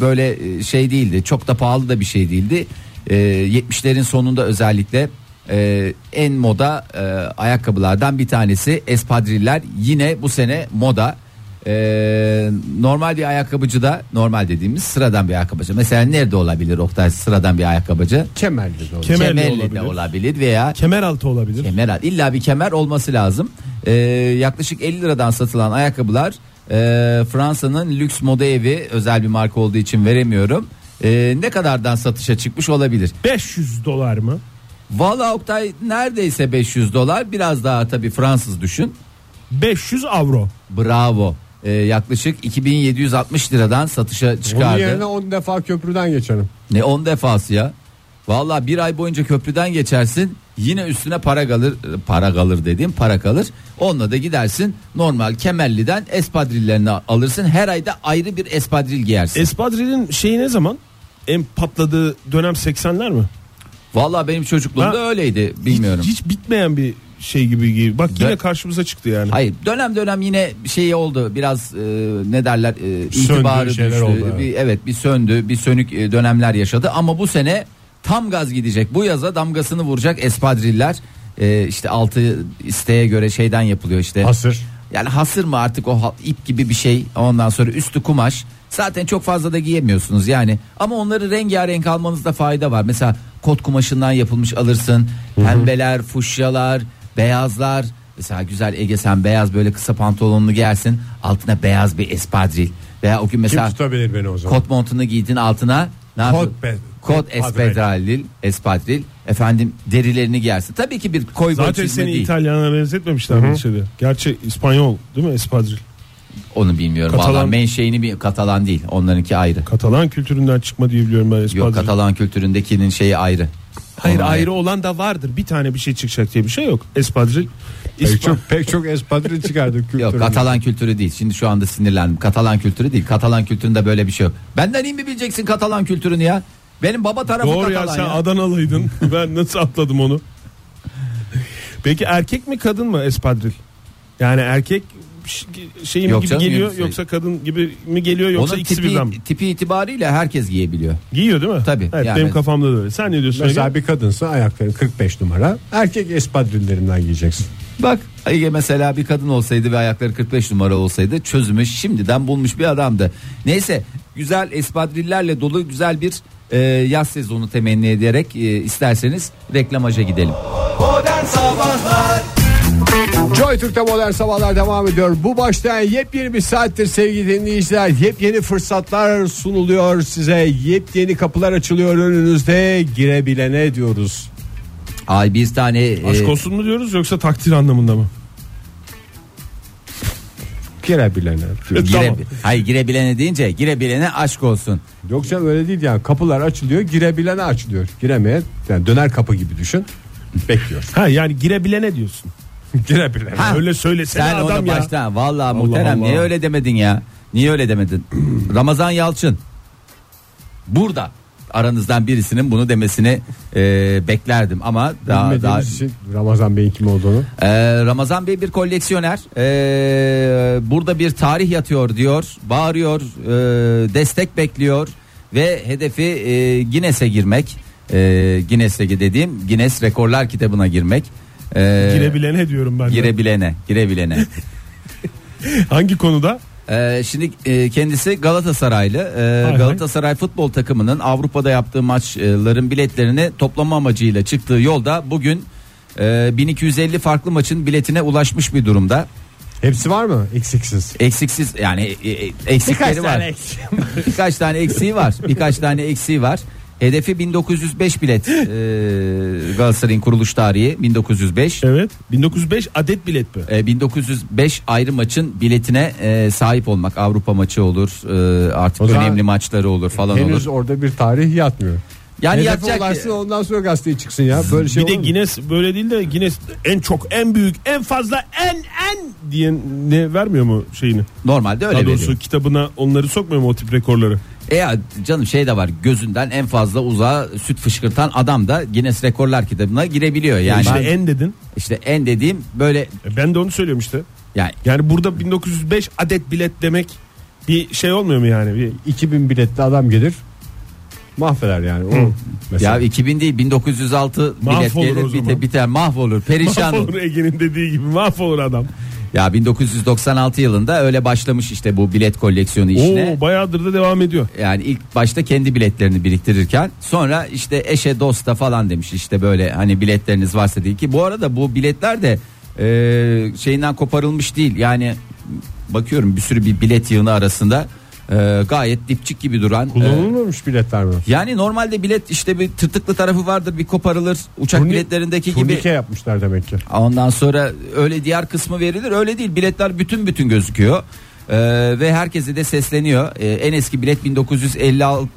D: böyle e, şey değildi. Çok da pahalı da bir şey değildi. E, 70'lerin sonunda özellikle e, en moda e, ayakkabılardan bir tanesi espadriller. Yine bu sene moda. Ee, normal bir ayakkabıcı da normal dediğimiz sıradan bir ayakkabıcı. Mesela nerede olabilir Oktay sıradan bir ayakkabıcı?
C: Kemerli de olur.
E: Kemerli
D: de
E: olabilir.
D: olabilir veya
E: Kemer altı olabilir.
D: kemer al- İlla bir kemer olması lazım. Ee, yaklaşık 50 liradan satılan ayakkabılar e, Fransa'nın lüks moda evi özel bir marka olduğu için veremiyorum. Ee, ne kadardan satışa çıkmış olabilir?
E: 500 dolar mı?
D: Valla Oktay neredeyse 500 dolar biraz daha tabii Fransız düşün.
E: 500 avro.
D: Bravo. e, yaklaşık 2760 liradan satışa
C: Bunun
D: çıkardı.
C: yerine 10 defa köprüden geçelim.
D: Ne 10 defası ya. Valla bir ay boyunca köprüden geçersin yine üstüne para kalır e, para kalır dediğim para kalır. Onunla da gidersin normal Kemerli'den espadrillerini alırsın her ayda ayrı bir espadril giyersin.
E: Espadril'in şeyi ne zaman? En patladığı dönem 80'ler mi?
D: Valla benim çocukluğumda
E: Ha,
D: öyleydi bilmiyorum.
E: Hiç, hiç bitmeyen bir şey gibi gibi. Bak yine
D: Ben-
E: karşımıza çıktı yani.
D: Hayır dönem dönem yine şey oldu biraz e, ne derler e,
C: Söndü,
D: itibarı
C: şeyler
D: düştü.
C: oldu, evet.
D: Bir, evet bir söndü bir sönük e, dönemler yaşadı ama bu sene tam gaz gidecek. Bu yaza damgasını vuracak espadriller E, işte altı isteğe göre şeyden yapılıyor işte.
C: Hasır.
D: Yani hasır mı artık o ha- ip gibi bir şey ondan sonra üstü kumaş. Zaten çok fazla da giyemiyorsunuz yani. Ama onları rengarenk almanızda fayda var. Mesela kot kumaşından yapılmış alırsın. Pembeler, fuşyalar, beyazlar. Mesela güzel Ege sen beyaz böyle kısa pantolonunu giyersin. Altına beyaz bir espadril. Veya o gün
C: Kim
D: mesela
C: tutabilir beni o zaman?
D: kot montunu giydin altına ne
C: Kot
D: yapıyorsun?
C: be-
D: Kot
C: kot
D: espadril, espadril. Efendim derilerini giyersin. Tabii ki bir koy boy
E: Zaten
D: çizme
E: seni
D: değil.
E: İtalyan'a benzetmemişler bu şeyde. Gerçi İspanyol değil mi Espadril?
D: Onu bilmiyorum.
E: Katalan-
D: Vallahi menşeini bir Katalan değil. Onlarınki ayrı.
E: Katalan kültüründen çıkma diye biliyorum ben Espadril.
D: Yok Katalan kültüründekinin şeyi ayrı.
E: Hayır
D: Ona
E: ayrı olan da vardır. Bir tane bir şey çıkacak diye bir şey yok. Espadril. İspa-
C: Pek çok, pek çok espadril çıkardık
D: Yok
C: kültürümüzden.
D: Katalan kültürü değil. Şimdi şu anda sinirlendim. Katalan kültürü değil. Katalan kültüründe böyle bir şey yok. Benden iyi mi bileceksin Katalan kültürünü ya? Benim baba tarafı
E: Doğru ya
D: Katalan
E: sen
D: ya.
E: Adanalıydın. ben nasıl atladım onu? Peki erkek mi kadın mı espadril? Yani erkek ş- şey mi
D: Yok
E: gibi
D: canım,
E: geliyor
D: yoksa-
E: yoksa kadın gibi mi geliyor yoksa
D: Onun
E: ikisi
D: tipi,
E: birden mi?
D: tipi itibariyle herkes giyebiliyor.
E: Giyiyor değil mi?
D: Tabii,
E: Evet,
D: yani-
E: benim kafamda da öyle. Sen ne diyorsun?
C: Mesela
E: Mesela
C: bir kadınsa ayakların 45 numara. Erkek espadrillerinden giyeceksin.
D: Bak Ege mesela bir kadın olsaydı ve ayakları 45 numara olsaydı çözümü şimdiden bulmuş bir adamdı. Neyse güzel espadrillerle dolu güzel bir e, yaz sezonu temenni ederek e, isterseniz reklamaja gidelim.
B: Modern Sabahlar
C: Joy Türk'te modern sabahlar devam ediyor. Bu baştan yepyeni bir saattir sevgili dinleyiciler. Yepyeni fırsatlar sunuluyor size. Yepyeni kapılar açılıyor önünüzde. Girebilene diyoruz.
D: Ay bir tane e,
E: aşk olsun mu diyoruz yoksa takdir anlamında mı?
C: Girebilene. diyoruz.
D: Gire,
E: E, Tamam.
D: Hayır girebilene deyince girebilene aşk olsun.
C: Yoksa öyle değil yani kapılar açılıyor girebilene açılıyor. Giremeyen yani döner kapı gibi düşün. Bekliyor.
E: Ha yani girebilene diyorsun.
C: girebilene.
D: Ha,
E: Öyle söylesene
D: Sen
E: adam
D: onu
E: ya.
D: baştan vallahi muhterem
E: Allah.
D: niye öyle demedin ya? Niye öyle demedin? Ramazan Yalçın burada aranızdan birisinin bunu demesini e, beklerdim ama daha,
C: Bilmediğimiz
D: daha
C: için Ramazan Bey'in kim olduğunu.
D: Ee, Ramazan Bey bir koleksiyoner. Ee, burada bir tarih yatıyor diyor. Bağırıyor. e, destek bekliyor. Ve hedefi e, Guinness'e girmek. E, Guinness'e dediğim Guinness Rekorlar kitabına girmek. Ee,
E: Girebilene diyorum ben. de.
D: girebilene. Girebilene.
E: Hangi konuda?
D: Ee, şimdi e, kendisi Galatasaraylı. Ee,
E: hay.
D: Galatasaray futbol takımının Avrupa'da yaptığı maçların biletlerini toplama amacıyla çıktığı yolda bugün e, 1250 farklı maçın biletine ulaşmış bir durumda.
C: Hepsi var mı? Eksiksiz.
D: Eksiksiz yani e, e, eksikleri var. Birkaç tane eksiği var. Birkaç tane eksiği var. Hedefi 1905 bilet. Ee, Galatasaray'ın kuruluş tarihi 1905.
E: Evet. 1905 adet bilet
C: E,
E: mi?
D: Ee, 1905 ayrı maçın biletine e, sahip olmak Avrupa maçı olur e, artık
C: O zaman
D: önemli maçları olur falan
C: Henüz
D: olur.
C: orada bir tarih yatmıyor.
D: Yani
C: Hedefe
D: yapacak şey
C: ulaşsın, ondan sonra gazeteye çıksın ya. Böyle şey
E: bir de
C: olur mu?
E: Guinness böyle değil de Guinness en çok en büyük en fazla en en diye ne vermiyor mu şeyini?
D: normalde öyle
E: Daha
D: bir.
E: doğrusu kitabına onları sokmuyor mu o tip rekorları?
D: E ya canım şey de var gözünden en fazla uzağa süt fışkırtan adam da Guinness Rekorlar kitabına girebiliyor yani.
E: işte
D: Ben-
E: en dedin.
D: işte en dediğim böyle
E: E Ben de onu söylüyorum işte.
D: yani
E: Yani burada 1905 adet bilet demek bir şey olmuyor mu yani? Bir
C: 2000 biletli adam gelir. Mahveder yani. O mesela.
D: Ya 2000 değil 1906 bilet
E: Mahvolur o
D: gelir
E: zaman.
D: biter, biter mahvolur perişan
E: mahvolur
D: olur.
E: Ege'nin dediği gibi mahvolur adam.
D: Ya 1996 yılında öyle başlamış işte bu bilet koleksiyonu işine.
E: Oo bayağıdır da devam ediyor.
D: Yani ilk başta kendi biletlerini biriktirirken sonra işte eşe dosta falan demiş işte böyle hani biletleriniz varsa değil ki. Bu arada bu biletler de e, şeyinden koparılmış değil yani bakıyorum bir sürü bir bilet yığını arasında e, gayet dipçik gibi duran. e,
C: Kullanılmamış biletler mi?
D: yani normalde bilet işte bir tırtıklı tarafı vardır bir koparılır uçak
C: Turni-
D: biletlerindeki gibi.
C: Turnike yapmışlar demek ki.
D: Ondan sonra öyle diğer kısmı verilir. Öyle değil. Biletler bütün bütün gözüküyor. Ee, Ee, ve herkese de sesleniyor. Ee, en eski bilet 1950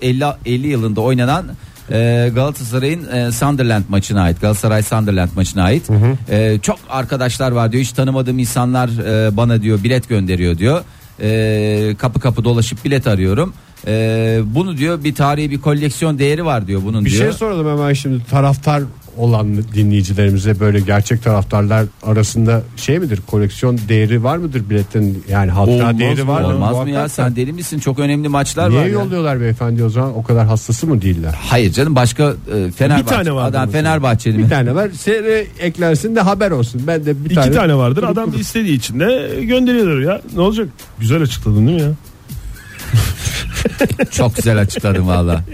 D: 50, 50 yılında oynanan e, Galatasaray'ın e, Sunderland maçına ait. Galatasaray Sunderland maçına ait. Ee, çok arkadaşlar var diyor. Hiç tanımadığım insanlar e, bana diyor bilet gönderiyor diyor. Ee, kapı kapı dolaşıp bilet arıyorum. Ee, bunu diyor bir tarihi bir koleksiyon değeri var diyor bunun
C: Bir
D: diyor.
C: şey soralım hemen şimdi taraftar olan dinleyicilerimize böyle gerçek taraftarlar arasında şey midir koleksiyon değeri var mıdır biletlerin yani hatıra
E: Olmaz
C: değeri
E: mı?
C: var mı?
D: Olmaz mı
C: Muhakkak
D: ya
C: da.
D: sen deli misin? Çok önemli maçlar var.
C: Niye
D: ya.
C: yolluyorlar beyefendi o zaman o kadar hastası mı değiller?
D: Hayır canım başka e, Fenerbahçe.
E: tane vardı
D: Adam
E: mesela.
D: Fenerbahçeli mi?
C: Bir tane var seri eklensin de haber olsun ben de bir
E: İki
C: tane.
E: tane, vardır. Adam istediği için de gönderiyorlar ya. Ne olacak? Güzel açıkladın değil mi ya?
D: Çok güzel açıkladın valla.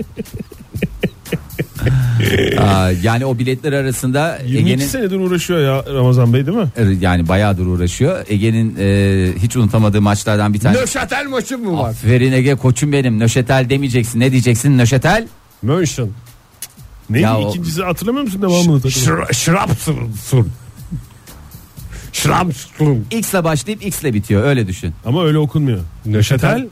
D: Aa, yani o biletler arasında
E: 22
D: Ege'nin Er,
E: senedir uğraşıyor ya Ramazan Bey değil mi?
D: yani bayağıdır uğraşıyor. Ege'nin e, hiç unutamadığı maçlardan bir tanesi.
C: Nöşatel maçı mı var?
D: Aferin Ege koçum benim. Nöşetel demeyeceksin. Ne diyeceksin? Nöşetel?
C: Mönchen.
E: Neydi
D: Ya o-
E: ikincisi hatırlamıyor musun devamını? takımı?
C: Şrapsun. Şrapsun.
D: X'le başlayıp X'le bitiyor. Öyle düşün.
E: Ama öyle okunmuyor.
C: Nöşatel.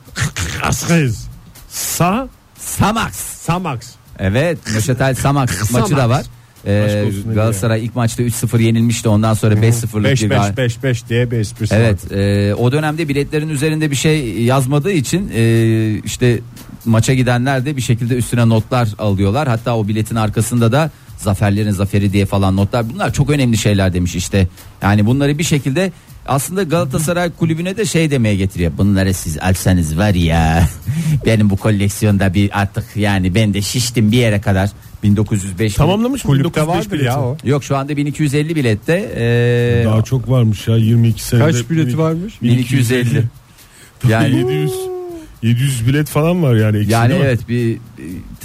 C: Askız.
E: Sa
D: Samax.
C: Samax.
D: Evet Nöşetel Samax maçı da var. Ee,
E: olsun Ege.
D: Galatasaray ilk maçta 3-0 yenilmişti. Ondan sonra 5-0'lık bir gal-
C: 5-5-5-5 diye bir esprisi var.
D: Evet e, o dönemde biletlerin üzerinde bir şey yazmadığı için e, işte maça gidenler de bir şekilde üstüne notlar alıyorlar. Hatta o biletin arkasında da zaferlerin zaferi diye falan notlar. Bunlar çok önemli şeyler demiş işte. Yani bunları bir şekilde aslında Galatasaray kulübüne de şey demeye getiriyor. Bunları siz alsanız var ya benim bu koleksiyonda bir artık yani ben de şiştim bir yere kadar 1905
E: tamamlamış mı?
C: Kulüpte
E: 1905
C: vardır ya
E: bileti.
C: o.
D: Yok şu anda 1250 bilette. e,
E: Daha çok varmış ya 22 senede.
C: Kaç bileti varmış?
D: 1250.
E: Yani
D: Yani
E: 700 700 bilet falan var yani. eksik
D: Yani
E: değil mi?
D: evet bir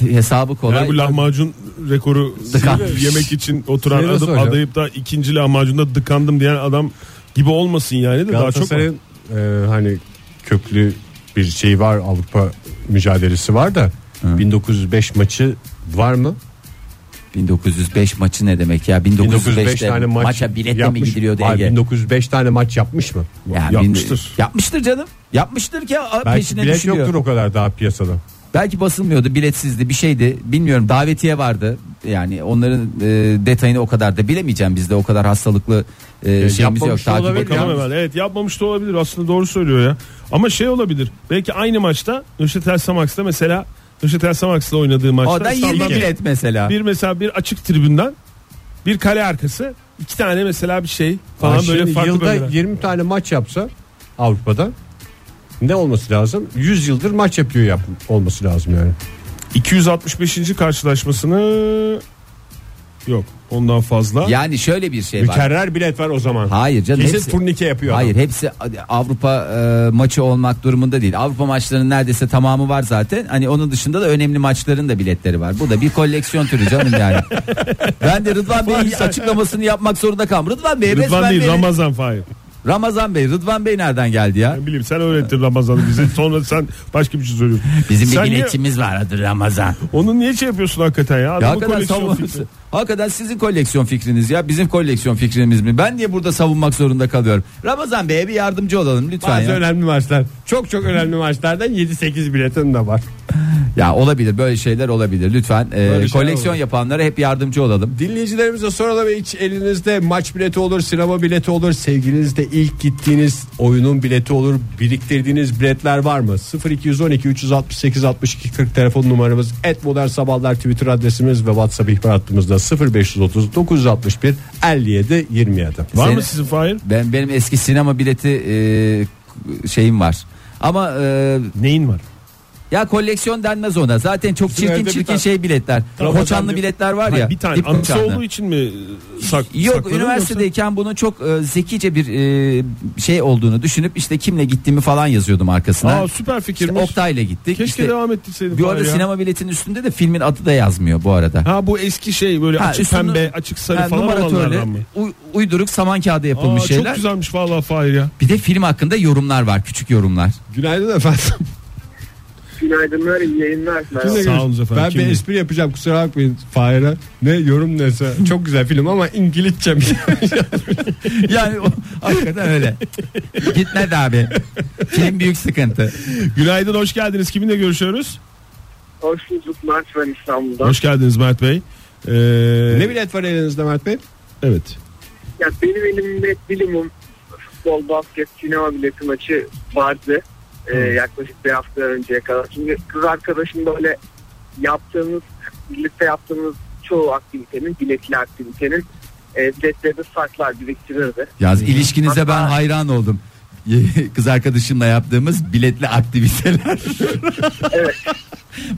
D: bir hesabı kolay.
E: Yani bu lahmacun rekoru
D: Dıkan.
E: yemek için oturan
C: Neyle
E: adam
C: soracağım?
E: adayıp da ikinci lahmacunda dıkandım diyen adam gibi olmasın yani de daha çok var.
C: Galatasaray'ın e, hani köklü bir şey var Avrupa mücadelesi var da 1905 maçı var mı?
D: 1905 maçı ne demek ya? 1905'te maça biletle mi
C: yapmış-
D: gidiliyordu
C: Hayır,
D: Ege?
C: 1905 tane maç yapmış mı?
D: Ya,
E: yapmıştır.
D: bin- yapmıştır canım. Yapmıştır ki a-
C: Belki
D: peşine
C: bilet
D: düşülüyor.
C: yoktur o kadar daha piyasada.
D: Belki basılmıyordu, biletsizdi, bir şeydi. Bilmiyorum davetiye vardı. Yani onların e, detayını o kadar da bilemeyeceğim. Bizde o kadar hastalıklı e, şeyimiz yok.
C: yapmamış da
D: Takip
C: olabilir
D: edemiyoruz.
E: Bakalım hemen. Evet yapmamış da olabilir. Aslında doğru söylüyor ya. Ama şey olabilir. Belki aynı maçta Nöşetel Samaks'la mesela Nöşetel Samaks'la oynadığı maçta
D: Oradan 20
E: standart-
D: bilet mesela.
E: bir mesela bir açık tribünden bir kale arkası iki tane mesela bir şey falan
C: Ama
E: böyle
C: şimdi
E: farklı
C: yılda
E: bölgeler.
C: 20 tane maç yapsa Avrupa'da ne olması lazım? 100 yıldır maç yapıyor yap olması lazım yani.
E: 265. karşılaşmasını yok ondan fazla.
D: Yani şöyle bir şey var.
C: Mükerrer bilet var o zaman.
D: Hayır canım.
C: Kesin
D: hepsi-
C: turnike yapıyor.
D: Hayır hepsi Avrupa e, maçı olmak durumunda değil. Avrupa maçlarının neredeyse tamamı var zaten. Hani onun dışında da önemli maçların da biletleri var. Bu da bir koleksiyon türü canım yani. ben de Rıdvan Bey'in açıklamasını yapmak zorunda kaldım. Rıdvan Bey
E: Rıdvan
D: resmen
E: değil
D: beni-
E: Ramazan Fahir.
D: Ramazan Bey. Rıdvan Bey nereden geldi ya?
E: Ne bileyim sen öğrettin Ramazan'ı bize sonra sen başka bir şey söylüyorsun.
D: Bizim
E: Sen
D: bir
E: niye-
D: biletçimiz var adı Ramazan.
E: Onu niye şey yapıyorsun hakikaten ya?
D: Ya
E: Adamın
D: hakikaten,
E: koleksiyon
D: savun-
E: fikri.
D: hakikaten sizin koleksiyon fikriniz ya bizim koleksiyon fikrimiz mi? Ben niye burada savunmak zorunda kalıyorum? Ramazan Bey'e bir yardımcı olalım lütfen
C: Bazı
D: ya.
C: önemli maçlar. Çok çok önemli maçlardan 7-8 biletin de var.
D: Ya olabilir böyle şeyler olabilir lütfen. e,
C: Böyle şeyler
D: koleksiyon
C: olur.
D: yapanlara hep yardımcı olalım.
C: Dinleyicilerimize soralım hiç elinizde maç bileti olur, sinema bileti olur, sevgilinizde ilk gittiğiniz oyunun bileti olur, biriktirdiğiniz biletler var mı? 0212 368 62 40 telefon numaramız, et modern sabahlar Twitter adresimiz ve WhatsApp ihbar hattımızda 0530 961 57 27.
E: Var
D: Seni-
E: mı sizin Fahir?
D: Ben benim eski sinema bileti e, şeyim var. Ama e,
E: Neyin var?
D: ya koleksiyon denmez ona. Zaten çok
C: evde
D: çirkin
C: bir
D: çirkin
C: tane-
D: şey biletler.
E: Ramazan
D: Koçanlı
E: bir-
D: biletler var
E: Hayır,
D: ya.
E: bir tane
D: dip
E: anısı
D: koçanlı.
E: olduğu için mi sak,
D: Yok
E: sakladın
D: üniversitedeyken bunun çok e, zekice bir e, şey olduğunu düşünüp işte kimle gittiğimi falan yazıyordum
E: yoksa?
D: arkasına.
E: Aa süper
D: İşte
E: fikirmiş.
D: Oktay'la gittik.
E: Keşke
D: İşte-
E: devam ettirseydin.
D: bu
E: Fahir
D: arada
E: ya.
D: sinema biletinin üstünde de filmin adı da yazmıyor bu arada.
E: Ha bu eski şey böyle
D: Ha,
E: açık
D: üstünü-
E: pembe, açık sarı
D: Yani
E: falan olanlardan
D: numaratörle
E: mı?
D: u- uyduruk saman kağıdı
E: Aa,
D: yapılmış şeyler.
E: Çok güzelmiş vallahi Fahir ya.
D: Bir de film hakkında yorumlar var küçük yorumlar.
C: Günaydın efendim.
F: günaydınlar, iyi yayınlar. Merhaba.
E: Sağ olun efendim.
C: Ben
E: Kim
C: bir
E: bu?
C: espri yapacağım kusura bakmayın Fahir'e. Ne yorum neyse. Çok güzel film ama İngilizce mi?
D: Yani o, hakikaten öyle. Gitmedi abi. Film büyük sıkıntı.
E: Günaydın hoş geldiniz. Kiminle görüşüyoruz?
F: Hoş bulduk Mert ben İstanbul'dan.
E: Hoş geldiniz Mert Bey. Ee,
C: ne bilet var elinizde Mert Bey?
E: Evet.
F: Ya benim elimde minimum futbol, basket, sinema bileti maçı vardı. Ee, yaklaşık bir hafta önceye kadar. Şimdi kız arkadaşım böyle yaptığımız, birlikte yaptığımız çoğu aktivitenin, biletli aktivitenin e, biletleri saklar, biriktirirdi.
D: Yaz ilişkinize ben
F: Hatta-
D: hayran oldum. Kız arkadaşımla yaptığımız biletli aktiviteler.
F: Evet.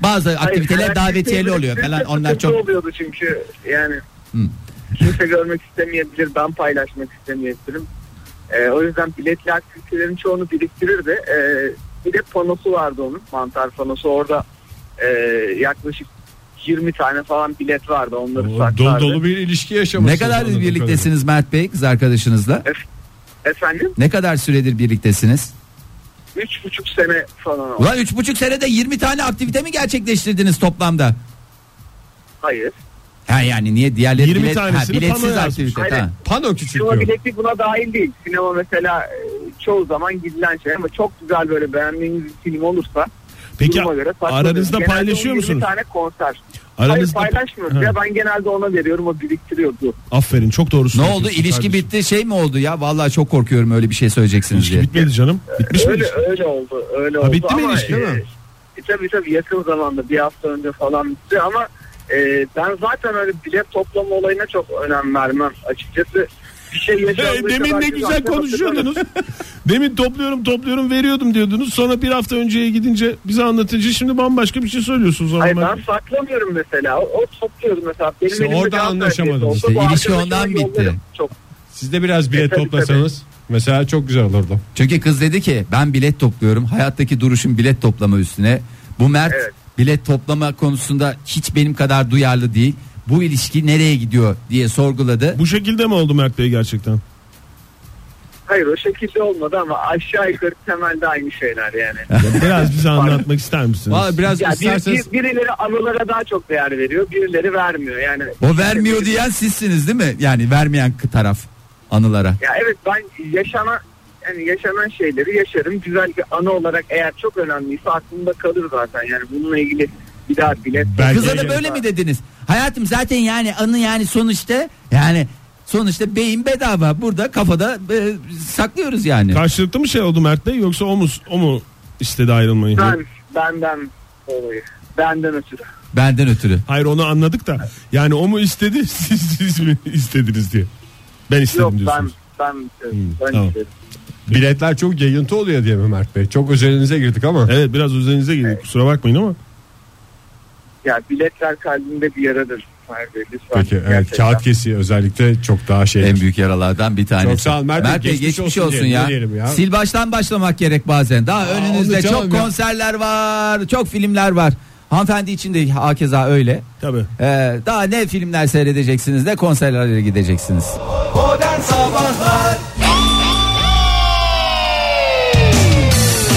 D: Bazı
F: Hayır,
D: aktiviteler
F: felaket
D: davetiyeli
F: değil.
D: oluyor falan.
F: Sıkıntı
D: Onlar çok
F: oluyordu çünkü yani kimse görmek istemeyebilir ben paylaşmak istemeyebilirim. Ee, o yüzden biletli aktivitelerin çoğunu biriktirirdi. Ee, bir de panosu vardı onun mantar panosu orada e, yaklaşık 20 tane falan bilet vardı onları saklardı.
C: Dolu dolu bir ilişki yaşamışsınız.
D: Ne kadar
C: anladığım
D: birliktesiniz Mert Bey kız arkadaşınızla?
F: Efendim
D: Ne kadar süredir birliktesiniz?
F: 3,5 sene falan oldu.
D: Ulan üç buçuk senede 20 tane aktivite mi gerçekleştirdiniz toplamda?
F: Hayır.
D: Ha yani niye diğerleri
E: 20
D: bilet, ha,
E: tanesini
D: biletsiz
E: panoya
D: aktivite.
F: yazmış.
D: Ha.
C: kadarıyla. Pano
D: şey
C: küçük
F: Sinema bileti buna dahil değil. Sinema mesela e, çoğu zaman gidilen şey ama çok güzel böyle beğendiğiniz bir film olursa
E: Peki
F: duruma göre saklıyorum.
E: aranızda
F: Genelde
E: paylaşıyor
F: 20
E: musunuz?
F: tane konser.
E: Aranızda
F: Hayır paylaşmıyoruz
E: Ha.
F: ya ben genelde ona veriyorum o biriktiriyordu.
E: Aferin çok doğrusu.
D: Ne oldu? İlişki bitti şey mi oldu ya? Vallahi çok korkuyorum öyle bir şey söyleyeceksiniz
E: İlişki
D: diye.
E: bitmedi canım. Bitmiş mi?
F: öyle
E: ilişki?
F: öyle oldu öyle
E: Ha,
F: oldu.
E: bitti mi
F: ama,
E: ilişki, değil mi?
F: E, tabii tabii yakın zamanda bir hafta önce falan bitti ama e, ben zaten öyle bilet toplama olayına çok önem vermem açıkçası. Bir şey
E: Hey,
F: yaşandığı
E: demin
F: kadar
E: ne
F: siz
E: güzel
F: arkadaşlar-
E: konuşuyordunuz. Demin topluyorum topluyorum veriyordum diyordunuz. Sonra bir hafta önceye gidince bize anlatınca şimdi bambaşka bir şey söylüyorsunuz. ama
F: Hayır
E: ben-
F: ben saklamıyorum mesela. O, o topluyorum mesela. Benim
C: İşte
F: elimde
C: orada
F: cevap
C: anlaşamadınız.
F: verdiği olsa
D: İşte
F: bu
D: ilişki
F: arkadaşıma
D: ondan bitti.
F: yollarım. Çok
C: Siz de biraz bilet
F: E, tabii,
C: toplasanız mesela çok güzel olurdu.
D: Çünkü kız dedi ki ben bilet topluyorum. Hayattaki duruşum bilet toplama üstüne. Bu Mert
F: Evet.
D: bilet toplama konusunda hiç benim kadar duyarlı değil. Bu ilişki nereye gidiyor diye sorguladı.
E: Bu şekilde mi oldu Mert Bey gerçekten?
F: Hayır o şekilde olmadı ama aşağı yukarı temelde aynı şeyler yani.
E: Biraz bize anlatmak ister misiniz?
C: Valla biraz
F: Ya bir-
C: isterseniz
F: bir- birileri anılara daha çok değer veriyor, birileri vermiyor. Yani
D: O vermiyor diyen sizsiniz değil mi? Yani vermeyen kı- taraf anılara.
F: Ya evet ben yaşana yani yaşanan şeyleri yaşarım. Güzel bir anı olarak eğer çok önemliyse aklımda kalır zaten. Yani bununla ilgili bir daha bilet.
E: Belki-
D: Kıza da böyle mi dediniz? Hayatım zaten yani anı yani sonuçta yani sonuçta beyin bedava burada kafada e, saklıyoruz yani.
E: Karşılıklı mı şey oldu Mert Bey yoksa o mu, o mu istedi ayrılmayı?
F: Ben, benden dolayı. Benden ötürü.
D: Benden ötürü.
E: Hayır onu anladık da yani o mu istedi siz, siz mi istediniz diye. Ben istedim
F: Yok ben
E: diyorsunuz.
F: ben ben
E: tamam.
F: istedim.
C: biletler çok yayıntı oluyor diye mi Mert Bey? Çok özelinize girdik ama.
E: Evet biraz üzerinize girdik kusura bakmayın ama.
F: Ya biletler kalbimde bir yaradır. Hayır, lütfen.
C: Peki evet,
F: Gerçekten.
C: kağıt kesiği özellikle çok daha şey.
D: En büyük yaralardan bir tanesi.
C: Çok sağ ol Mert Bey, geçmiş olsun diyelim, ne diyelim ya?
D: Sil baştan başlamak gerek bazen. Daha önünüzde
C: onu canım
D: çok
C: ya.
D: konserler var, çok filmler var. Hanımefendi için de hakeza öyle.
E: Tabii.
D: Ee, daha ne filmler seyredeceksiniz ne konserlere gideceksiniz.
B: Modern Sabahlar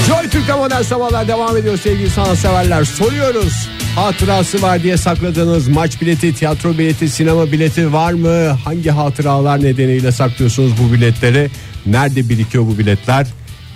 C: Joy Türk'te modern sabahlar devam ediyor sevgili sanatseverler. Soruyoruz. Hatırası var diye sakladığınız maç bileti, tiyatro bileti, sinema bileti var mı? Hangi hatıralar nedeniyle saklıyorsunuz bu biletleri? Nerede birikiyor bu biletler?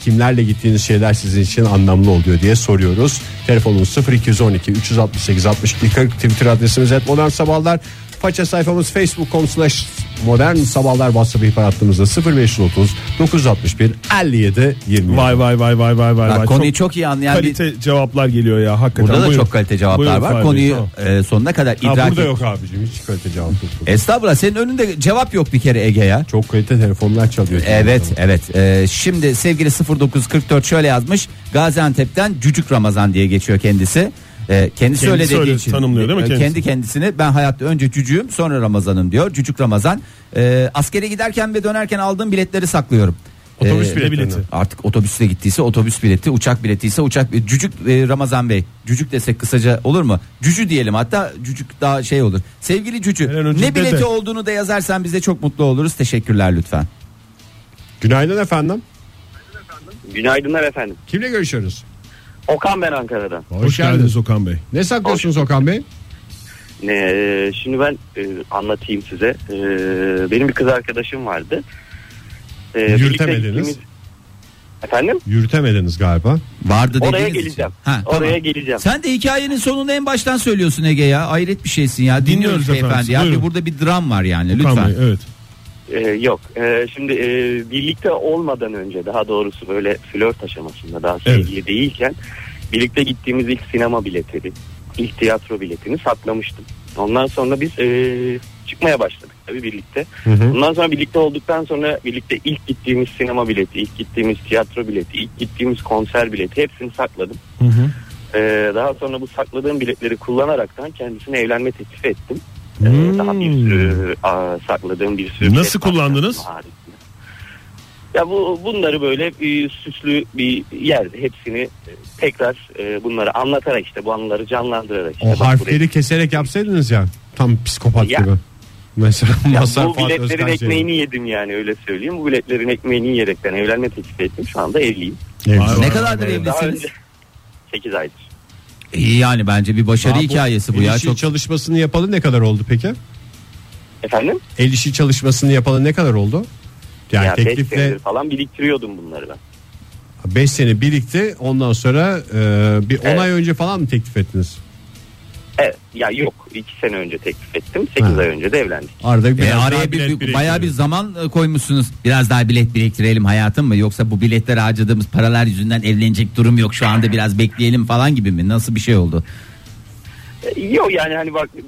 C: Kimlerle gittiğiniz şeyler sizin için anlamlı oluyor diye soruyoruz. Telefonumuz 0212 368 62 40 Twitter adresimiz et modern sabahlar. Faça sayfamız facebook.com slash modern sabahlar WhatsApp ihbar hattımızda 0530 961 57 20.
E: Vay vay vay vay vay vay.
D: Bak,
E: vay.
D: konuyu
E: Çok
D: çok iyi anlayan bir
E: kalite cevaplar geliyor ya hakikaten.
D: Burada da
E: Buyurun.
D: çok kalite cevaplar
E: Buyurun
D: var.
E: Fahir Bey,
D: Konuyu
E: tamam.
D: e, sonuna kadar
C: Ha,
D: idrak
C: burada
D: et. E-
C: yok abicim hiç kalite cevap yok.
D: Estağfurullah senin önünde cevap yok bir kere Ege ya.
C: Çok kalite telefonlar çalıyor.
D: Evet evet Ee, şimdi sevgili 0944 şöyle yazmış Gaziantep'ten Cücük Ramazan diye geçiyor kendisi. Ee, kendisi
E: Kendisi
D: öyle dediği
E: öyle
D: için
E: tanımlıyor değil mi
D: Ee,
E: kendisi?
D: Kendi kendisini ben hayatta önce cücüğüm sonra Ramazan'ım diyor. Cücük Ramazan. Ee, askere giderken ve dönerken aldığım biletleri saklıyorum.
C: Otobüs
D: Ee,
C: biletlerini.
E: bileti.
D: Artık otobüsle gittiyse otobüs bileti, uçak bileti ise uçak bileti. Cücük e, Ramazan Bey. Cücük desek kısaca olur mu? Cücü diyelim hatta cücük daha şey olur. Sevgili
E: Her an
D: cücü
E: önce
D: ne bileti
E: dede.
D: olduğunu da yazarsan biz de çok mutlu oluruz. Teşekkürler lütfen.
C: Günaydın efendim.
G: Günaydınlar efendim.
C: Kimle görüşüyoruz?
G: Okan ben Ankara'dan.
E: Hoş, geldiniz Okan Bey.
C: Ne saklıyorsunuz Okan Bey?
G: Ne, e, şimdi ben e, anlatayım size. E, benim bir kız arkadaşım vardı. E, birlikte
C: Yürütemediniz.
G: gittiğimiz- Efendim?
C: Yürütemediniz galiba.
D: Vardı
G: Oraya
D: dediğiniz için.
G: geleceğim.
D: Ha, tamam.
G: Oraya geleceğim.
D: Sen de hikayenin sonunu en baştan söylüyorsun Ege ya. Hayret bir şeysin ya. Dinliyoruz,
E: Dinliyoruz efendim.
D: beyefendi. Ya.
E: Buyurun.
D: Bir burada bir dram var yani
E: Okan
D: lütfen.
E: Bey, evet.
G: Ee, yok. Ee, şimdi e, birlikte olmadan önce daha doğrusu böyle flört aşamasında daha sevgili değilken birlikte gittiğimiz ilk sinema biletiydi. ilk tiyatro biletini saklamıştım. Ondan sonra biz e, çıkmaya başladık tabii birlikte. Ondan sonra birlikte olduktan sonra birlikte ilk gittiğimiz sinema bileti, ilk gittiğimiz tiyatro bileti, ilk gittiğimiz konser bileti hepsini sakladım. Ee, daha sonra bu sakladığım biletleri kullanaraktan kendisine evlenme teklif ettim. Ee, Daha bir sürü aa, sakladığım bir sürü
E: Nasıl
G: bilet var.
E: kullandınız?
G: Haricinde. Ya bu bunları böyle bir süslü bir yerde hepsini e, tekrar e, bunları anlatarak işte bu anıları canlandırarak işte
C: O
G: bak buraya-
C: harfleri keserek yapsaydınız ya. Tam psikopat
G: Ya.
C: gibi. Mesela
G: Ya
C: Mazhar
G: bu
C: Fuat
G: biletlerin
C: Özkan şey.
G: ekmeğini yedim yani öyle söyleyeyim. Bu biletlerin ekmeğini yiyerekten evlenme teklif ettim. Şu anda evliyim.
C: Evet.
D: Ne kadardır
G: Daha
D: evlisiniz?
G: önce 8 aydır.
D: İyi yani bence bir başarı
C: Aa,
D: hikayesi bu
C: el
D: ya.
C: işi
D: Çok
C: çalışmasını yapalı ne kadar oldu peki?
G: Efendim?
C: El işi çalışmasını yapalı ne kadar oldu? Yani
G: ya 5
C: teklifle
G: senedir falan biriktiriyordum bunları ben.
C: 5 sene birikti. Ondan sonra e, bir 10
G: Evet.
C: ay önce falan mı teklif ettiniz?
G: Evet, ya yok 2 sene önce teklif ettim. 8
C: Ha.
G: ay önce de evlendik.
C: Arada bir
D: E, araya bir, bir- bayağı bir zaman e, koymuşsunuz. Biraz daha bilet biriktirelim hayatım mı? Yoksa bu biletlere harcadığımız paralar yüzünden evlenecek durum yok şu anda biraz bekleyelim falan gibi mi? Nasıl bir şey oldu?
G: E, Yok yani hani bak e,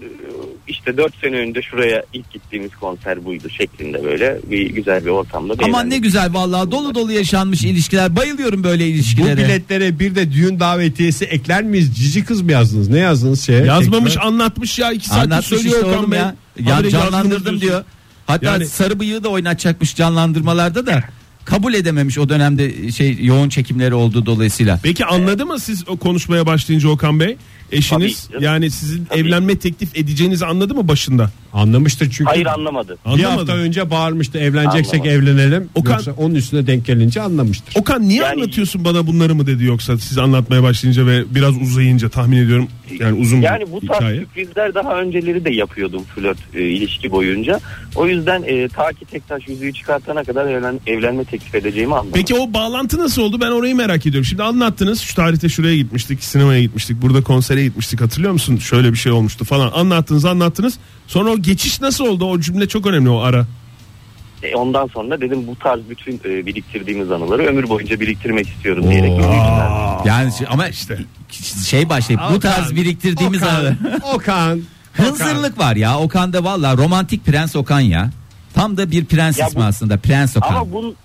G: işte 4 sene önce şuraya ilk gittiğimiz konser buydu şeklinde böyle bir güzel bir ortamda.
D: Aman
G: eğlendik.
D: ne güzel vallahi dolu dolu yaşanmış ilişkiler. Bayılıyorum böyle
C: Bu
D: ilişkilere.
C: biletlere bir de düğün davetiyesi ekler miyiz? Cici kız mı yazdınız? Ne yazdınız şeye?
E: Yazmamış
C: Tekrar-
E: anlatmış ya iki saattir
D: Anlatmış
E: söylüyor
D: işte
E: Okan
D: oğlum
E: Bey.
D: ya.
E: Habire
D: Ya
E: yazdınız
D: canlandırdım
E: diyorsunuz.
D: diyor. Hatta
E: Yani-
D: sarı bıyığı da oynatacakmış canlandırmalarda da. Kabul edememiş o dönemde şey yoğun çekimleri olduğu dolayısıyla.
E: Peki anladı mı siz o konuşmaya başlayınca Okan Bey? Eşiniz
G: Tabii canım.
E: yani sizin
G: Tabii.
E: evlenme teklif edeceğinizi anladı mı başında?
C: Anlamıştır çünkü.
E: şey.
G: Hayır anlamadı.
C: Bir
E: Anlamadı.
C: hafta önce bağırmıştı evleneceksek
G: Anlamadım.
C: evlenelim.
E: Okan-
C: Yoksa onun üstüne denk gelince anlamıştır.
E: Okan niye
G: Yani-
E: anlatıyorsun bana bunları mı dedi yoksa siz anlatmaya başlayınca ve biraz uzayınca tahmin ediyorum yani uzun
G: Yani bu
E: bir
G: tarz
E: hikaye.
G: sürprizler daha önceleri de yapıyordum flört e, ilişki boyunca. O yüzden e, ta ki Tektaş yüzüğü çıkartana kadar evlen, evlenme teklif edeceğimi anlamadım.
E: Peki o bağlantı nasıl oldu ben orayı merak ediyorum. Şimdi anlattınız şu tarihte şuraya gitmiştik sinemaya gitmiştik burada konsere gitmiştik hatırlıyor musun? Şöyle bir şey olmuştu falan anlattınız anlattınız. Sonra o geçiş nasıl oldu o cümle çok önemli o ara.
G: E, ondan sonra dedim bu tarz bütün e, biriktirdiğimiz anıları ömür boyunca biriktirmek istiyorum diyerek. yürüyüşler.
D: Yani şey- ama işte şey başlayıp bu tarz biriktirdiğimiz anı.
C: Okan.
D: Hınzırlık var ya Okan'da valla romantik prens Okan ya. Tam da bir prens
G: Ya bu-
D: ismi aslında prens Okan.
G: Ama bun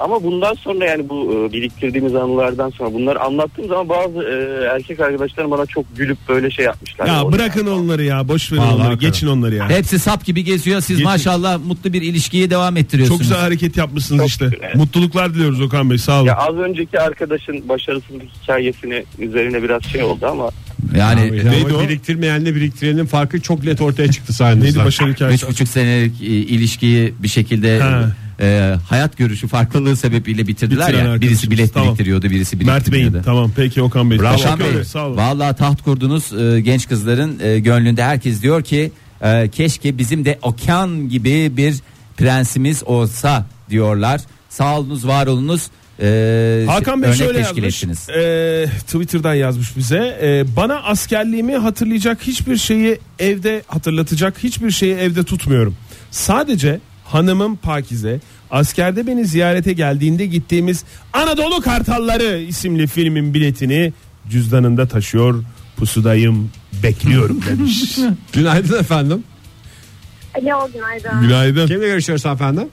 G: ama bundan sonra yani bu e, biriktirdiğimiz anılardan sonra bunları anlattığım zaman bazı e, erkek arkadaşlarım bana çok gülüp böyle şey yapmışlar.
E: Ya
G: Orada
E: bırakın
G: yani.
E: onları ya boş verin
C: Vallahi
E: onları
C: hakikaten.
E: geçin onları ya.
D: Hepsi sap gibi geziyor siz
E: Geçin.
D: maşallah mutlu bir ilişkiye devam
E: Çok
D: ettiriyorsunuz.
E: güzel hareket yapmışsınız
G: Çok
E: işte.
G: güzel.
E: Mutluluklar diliyoruz Okan Bey sağ olun.
G: Ya az önceki arkadaşın başarısızlık hikayesini üzerine biraz şey oldu ama
D: Yani
C: Neydi
E: neydi o?
C: Biriktirmeyenle biriktirenin farkı çok net ortaya çıktı
E: Neydi
C: sayenizde.
E: başarı hikayesi?
D: üç buçuk senelik e, ilişkiyi bir şekilde
E: Ha.
D: e, hayat görüşü farklılığı sebebiyle bitirdiler
E: Bitiren
D: ya.
E: arkadaşımız,
D: Birisi bilet
E: tamam.
D: biriktiriyordu birisi
E: Mert
D: biriktirmiyordu.
E: Bey'in tamam peki Okan Bey.
D: Bravo
E: Teşekkür
D: Okan Bey.
E: ederim, Sağ olun.
D: Vallahi taht kurdunuz e, genç kızların e, gönlünde herkes diyor ki e, keşke bizim de Okan gibi bir prensimiz olsa diyorlar. Sağ olunuz, var olunuz. E,
E: Hakan Bey
D: örnek
E: şöyle
D: teşkil
E: yazmış.
D: ettiniz.
E: e, Twitter'dan yazmış bize. E, bana askerliğimi hatırlayacak hiçbir şeyi evde hatırlatacak hiçbir şeyi evde tutmuyorum. Sadece hanımım Pakize askerde beni ziyarete geldiğinde gittiğimiz Anadolu Kartalları isimli filmin biletini cüzdanında taşıyor. Pusudayım bekliyorum demiş.
C: Günaydın efendim.
H: Alo günaydın.
E: Günaydın.
C: Kimle görüşüyoruz efendim?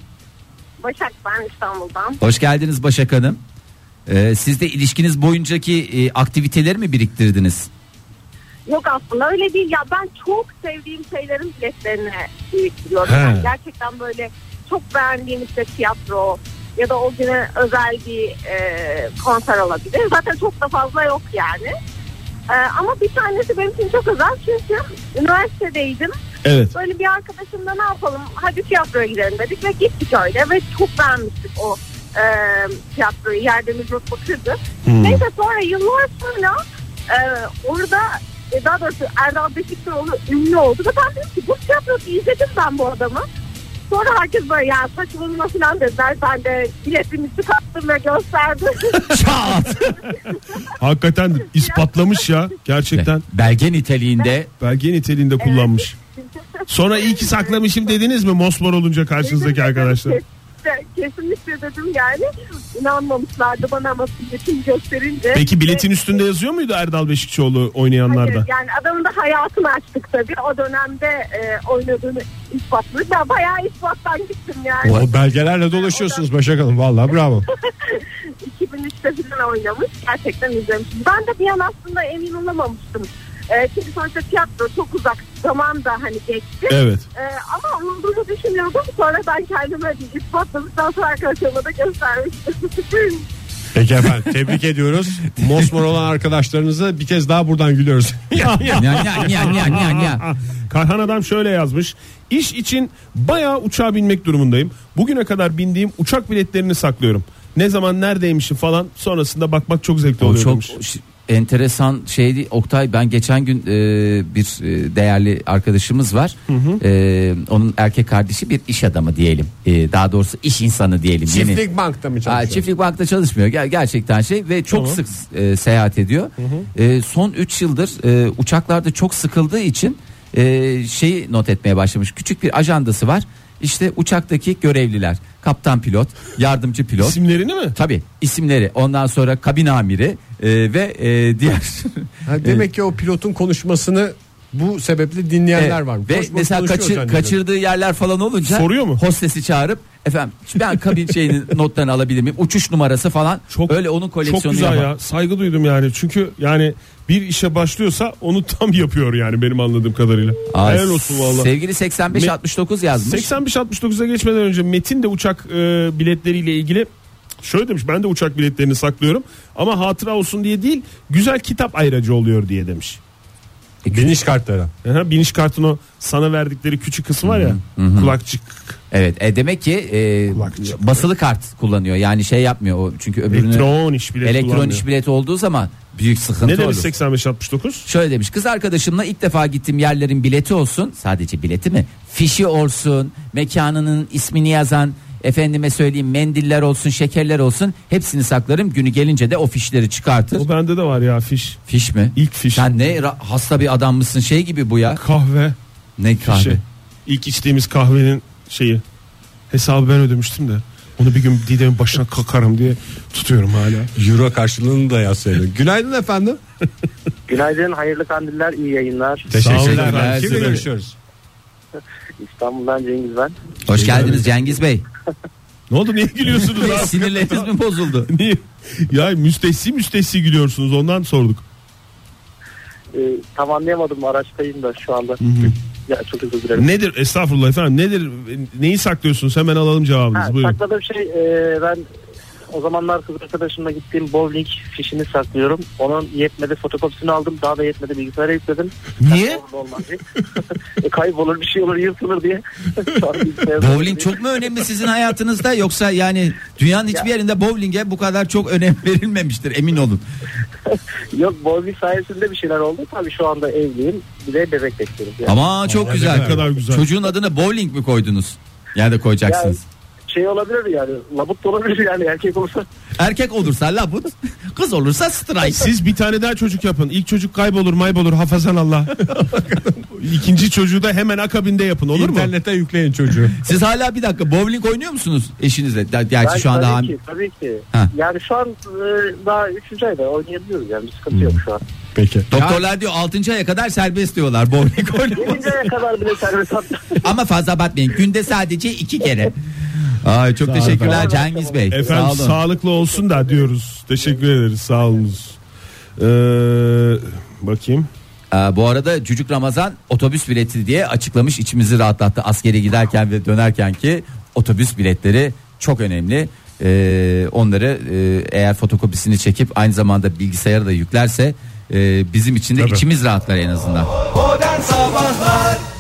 H: Başak ben İstanbul'dan.
D: Hoş geldiniz Başak Hanım. E, siz de ilişkiniz boyuncaki e, aktiviteleri mi biriktirdiniz?
H: Yok aslında öyle değil ya ben çok sevdiğim şeylerin biletlerini biriktiriyorum.
E: He.
H: Yani gerçekten böyle çok beğendiğim işte tiyatro ya da o güne özel bir e, konser olabilir. Zaten çok da fazla yok yani. E, ama bir tanesi benim için çok özel çünkü üniversitedeydim.
E: Evet.
H: Böyle bir arkadaşımla ne yapalım hadi tiyatroya gidelim dedik ve gittik öyle ve çok beğenmiştik o e, e, tiyatroyu yerde Müjdat Bakır'dı.
E: Hmm.
H: Neyse sonra yıllar sonra e, orada e, daha doğrusu Erdal Beşiktaşoğlu ünlü oldu. Ve ben dedim ki bu tiyatrosu izledim ben bu adamı. Sonra herkes böyle ya saçmalama falan dediler. Ben de biletimi çıkarttım ve gösterdim.
E: Hakikaten ispatlamış ya gerçekten.
D: Belge niteliğinde
E: Belge niteliğinde kullanmış. Sonra iyi ki saklamışım dediniz mi mosmor olunca karşınızdaki arkadaşlar?
H: Kesinlikle, kesinlikle dedim yani. İnanmamışlardı bana ama biletimi gösterince.
E: Peki biletin
H: Ve-
E: üstünde yazıyor muydu Erdal Beşikçioğlu
H: Hayır,
E: oynayanlarda?
H: yani adamın da hayatını açtık tabii. O dönemde e, oynadığını ispatladık. Ben bayağı ispattan gittim yani.
C: O belgelerle dolaşıyorsunuz Başak Hanım. Valla bravo.
H: 2003'te falan oynamış. Gerçekten izlemiştim. Ben de bir an aslında emin olamamıştım. E, çünkü sonuçta tiyatro çok uzak zaman da hani geçti.
E: Evet.
H: E, ama olduğunu düşünüyordum. Sonra ben kendime bir ispatladıktan sonra arkadaşlarıma da göstermiştim.
C: Peki efendim tebrik ediyoruz. Mosmor olan arkadaşlarınıza bir kez daha buradan gülüyoruz.
D: Nya, nya, nya, nya, nya, nya.
E: Kayhan adam şöyle yazmış. İş için bayağı uçağa binmek durumundayım. Bugüne kadar bindiğim uçak biletlerini saklıyorum. Ne zaman neredeymişim falan sonrasında bakmak çok zevkli
D: O
E: oluyor
D: çok
E: demiş.
D: ş- enteresan şeydi Oktay ben geçen gün e, bir e, değerli arkadaşımız var E, onun erkek kardeşi bir iş adamı diyelim E, daha doğrusu iş insanı diyelim Yeni-
C: Çiftlik bankta mı
D: Aa,
C: çalışıyor?
D: çiftlik bankta çalışmıyor Ger- gerçekten şey ve çok sık e, seyahat ediyor. E, son 3 yıldır e, uçaklarda çok sıkıldığı için e, şeyi not etmeye başlamış. Küçük bir ajandası var. İşte uçaktaki görevliler, kaptan pilot, yardımcı pilot.
E: İsimlerini mi?
D: Tabi isimleri ondan sonra kabin amiri e, ve e, diğer
C: Ha, demek ki o pilotun konuşmasını bu sebeple dinleyenler var.
D: e, Ve
C: Boş boş
D: mesela
C: konuşuyor
D: kaçır-
C: zannediyorum.
D: kaçırdığı yerler falan olunca
E: Soruyor mu?
D: Hostesi çağırıp efendim ben kabin şeyinin notlarını alabilir miyim? Uçuş numarası falan.
E: Çok-
D: öyle onun koleksiyonu
E: Çok güzel
D: yapar.
E: ya saygı duydum yani çünkü yani bir işe başlıyorsa onu tam yapıyor yani benim anladığım kadarıyla.
D: Aa,
E: Helal olsun valla.
D: Sevgili 85
E: Me-
D: 69 yazmış.
E: 85-69'a geçmeden önce Metin de uçak e, biletleriyle ilgili şöyle demiş ben de uçak biletlerini saklıyorum ama hatıra olsun diye değil güzel kitap ayracı oluyor diye demiş.
D: E,
C: Biniş kartları.
E: Aha, biniş kartını o sana verdikleri küçük kısım var ya kulakçık
D: Evet. E, demek ki e,
E: Kulakçık.
D: basılı kart kullanıyor. Yani şey yapmıyor o çünkü öbürünü
E: elektron iş bilet
D: elektron
E: kullanmıyor.
D: iş bileti olduğu zaman büyük sıkıntı
E: Ne
D: olur.
E: demiş 85-69?
D: Şöyle demiş kız arkadaşımla ilk defa gittiğim yerlerin bileti olsun sadece bileti mi fişi olsun mekanının ismini yazan efendime söyleyeyim mendiller olsun şekerler olsun hepsini saklarım günü gelince de o fişleri çıkartır.
E: O bende de var ya fiş.
D: Fiş mi?
E: İlk fiş.
D: Sen ne ra- hasta bir adam mısın şey gibi bu ya
E: Kahve.
D: ne kahve.
E: Şey, ilk içtiğimiz kahvenin şeyi hesabı ben ödemiştim de onu bir gün Didem'in başına kakarım diye tutuyorum hala.
C: Euro karşılığını da yazsaydın. Günaydın efendim.
G: Günaydın, hayırlı kandiller, iyi yayınlar.
E: Teşekkürler.
C: Teşekkürler. Kimle
E: Size de.
C: görüşüyoruz?
G: İstanbul'dan Cengiz ben.
E: Şey
D: Hoş geldiniz Cengiz Bey.
E: Ne oldu niye gülüyorsunuz abi?
D: Sinirleriniz mi bozuldu?
E: Niye? Ya müstehsi müstehsi gülüyorsunuz ondan sorduk.
G: Ee, tam anlayamadım araçtayım da şu anda. Ya çok özür dilerim.
E: Nedir estağfurullah efendim nedir neyi saklıyorsunuz hemen alalım cevabınızı
G: Ha,
E: buyurun.
G: sakladığım şey e, ben o zamanlar kız arkadaşımla gittiğim bowling fişini saklıyorum. Onun yetmedi fotokopisini aldım. Daha da yetmedi bilgisayara yükledim.
D: Niye?
G: Oldu olmaz diye. e, kaybolur bir şey olur yırtılır diye. Sonra bilgisayara-
D: Bowling çok mu önemli sizin hayatınızda yoksa yani dünyanın hiçbir yerinde bowling'e bu kadar çok önem verilmemiştir emin olun.
G: Yok bowling sayesinde bir şeyler oldu. Tabii şu anda evliyim. Bir de bebek bekliyorum. Yani.
D: Ama çok güzel.
E: ne kadar güzel.
D: Çocuğun adını bowling mi koydunuz? Ya da koyacaksınız.
G: Şey olabilir yani. Labut da olabilir yani erkek olsa.
D: Erkek olursa labut, kız olursa strike.
E: Siz bir tane daha çocuk yapın. İlk çocuk kaybolur maybolur hafazan Allah. İkinci çocuğu da hemen akabinde yapın olur mu?
C: İnternete yükleyin çocuğu.
D: Siz hala bir dakika bowling oynuyor musunuz eşinizle? Ger- Gerçi
G: Ben-
D: şu anda
G: tabii
D: ham-
G: ki, tabii ki.
D: Ha.
G: Yani şu an e, daha 3. ayda oynayabiliyoruz yani bir sıkıntı yok şu an.
C: Peki.
D: doktorlar diyor 6. aya kadar serbest diyorlar bowling oynaması.
G: 7. aya kadar bile serbest hatta.
D: Ama fazla batmayın. Günde sadece iki kere. Ay çok teşekkürler Cengiz Bey.
E: Efendim
D: Sağ olun.
E: sağlıklı olsun da diyoruz. Teşekkür ederiz sağ olunuz. Ee, bakayım.
D: Ee, bu arada Cücük Ramazan otobüs bileti diye açıklamış içimizi rahatlattı askere giderken ve dönerken ki otobüs biletleri çok önemli. Ee, onları e, eğer fotokopisini çekip aynı zamanda bilgisayara da yüklerse e, bizim için de içimiz rahatlar en azından.
B: Modern Sabahlar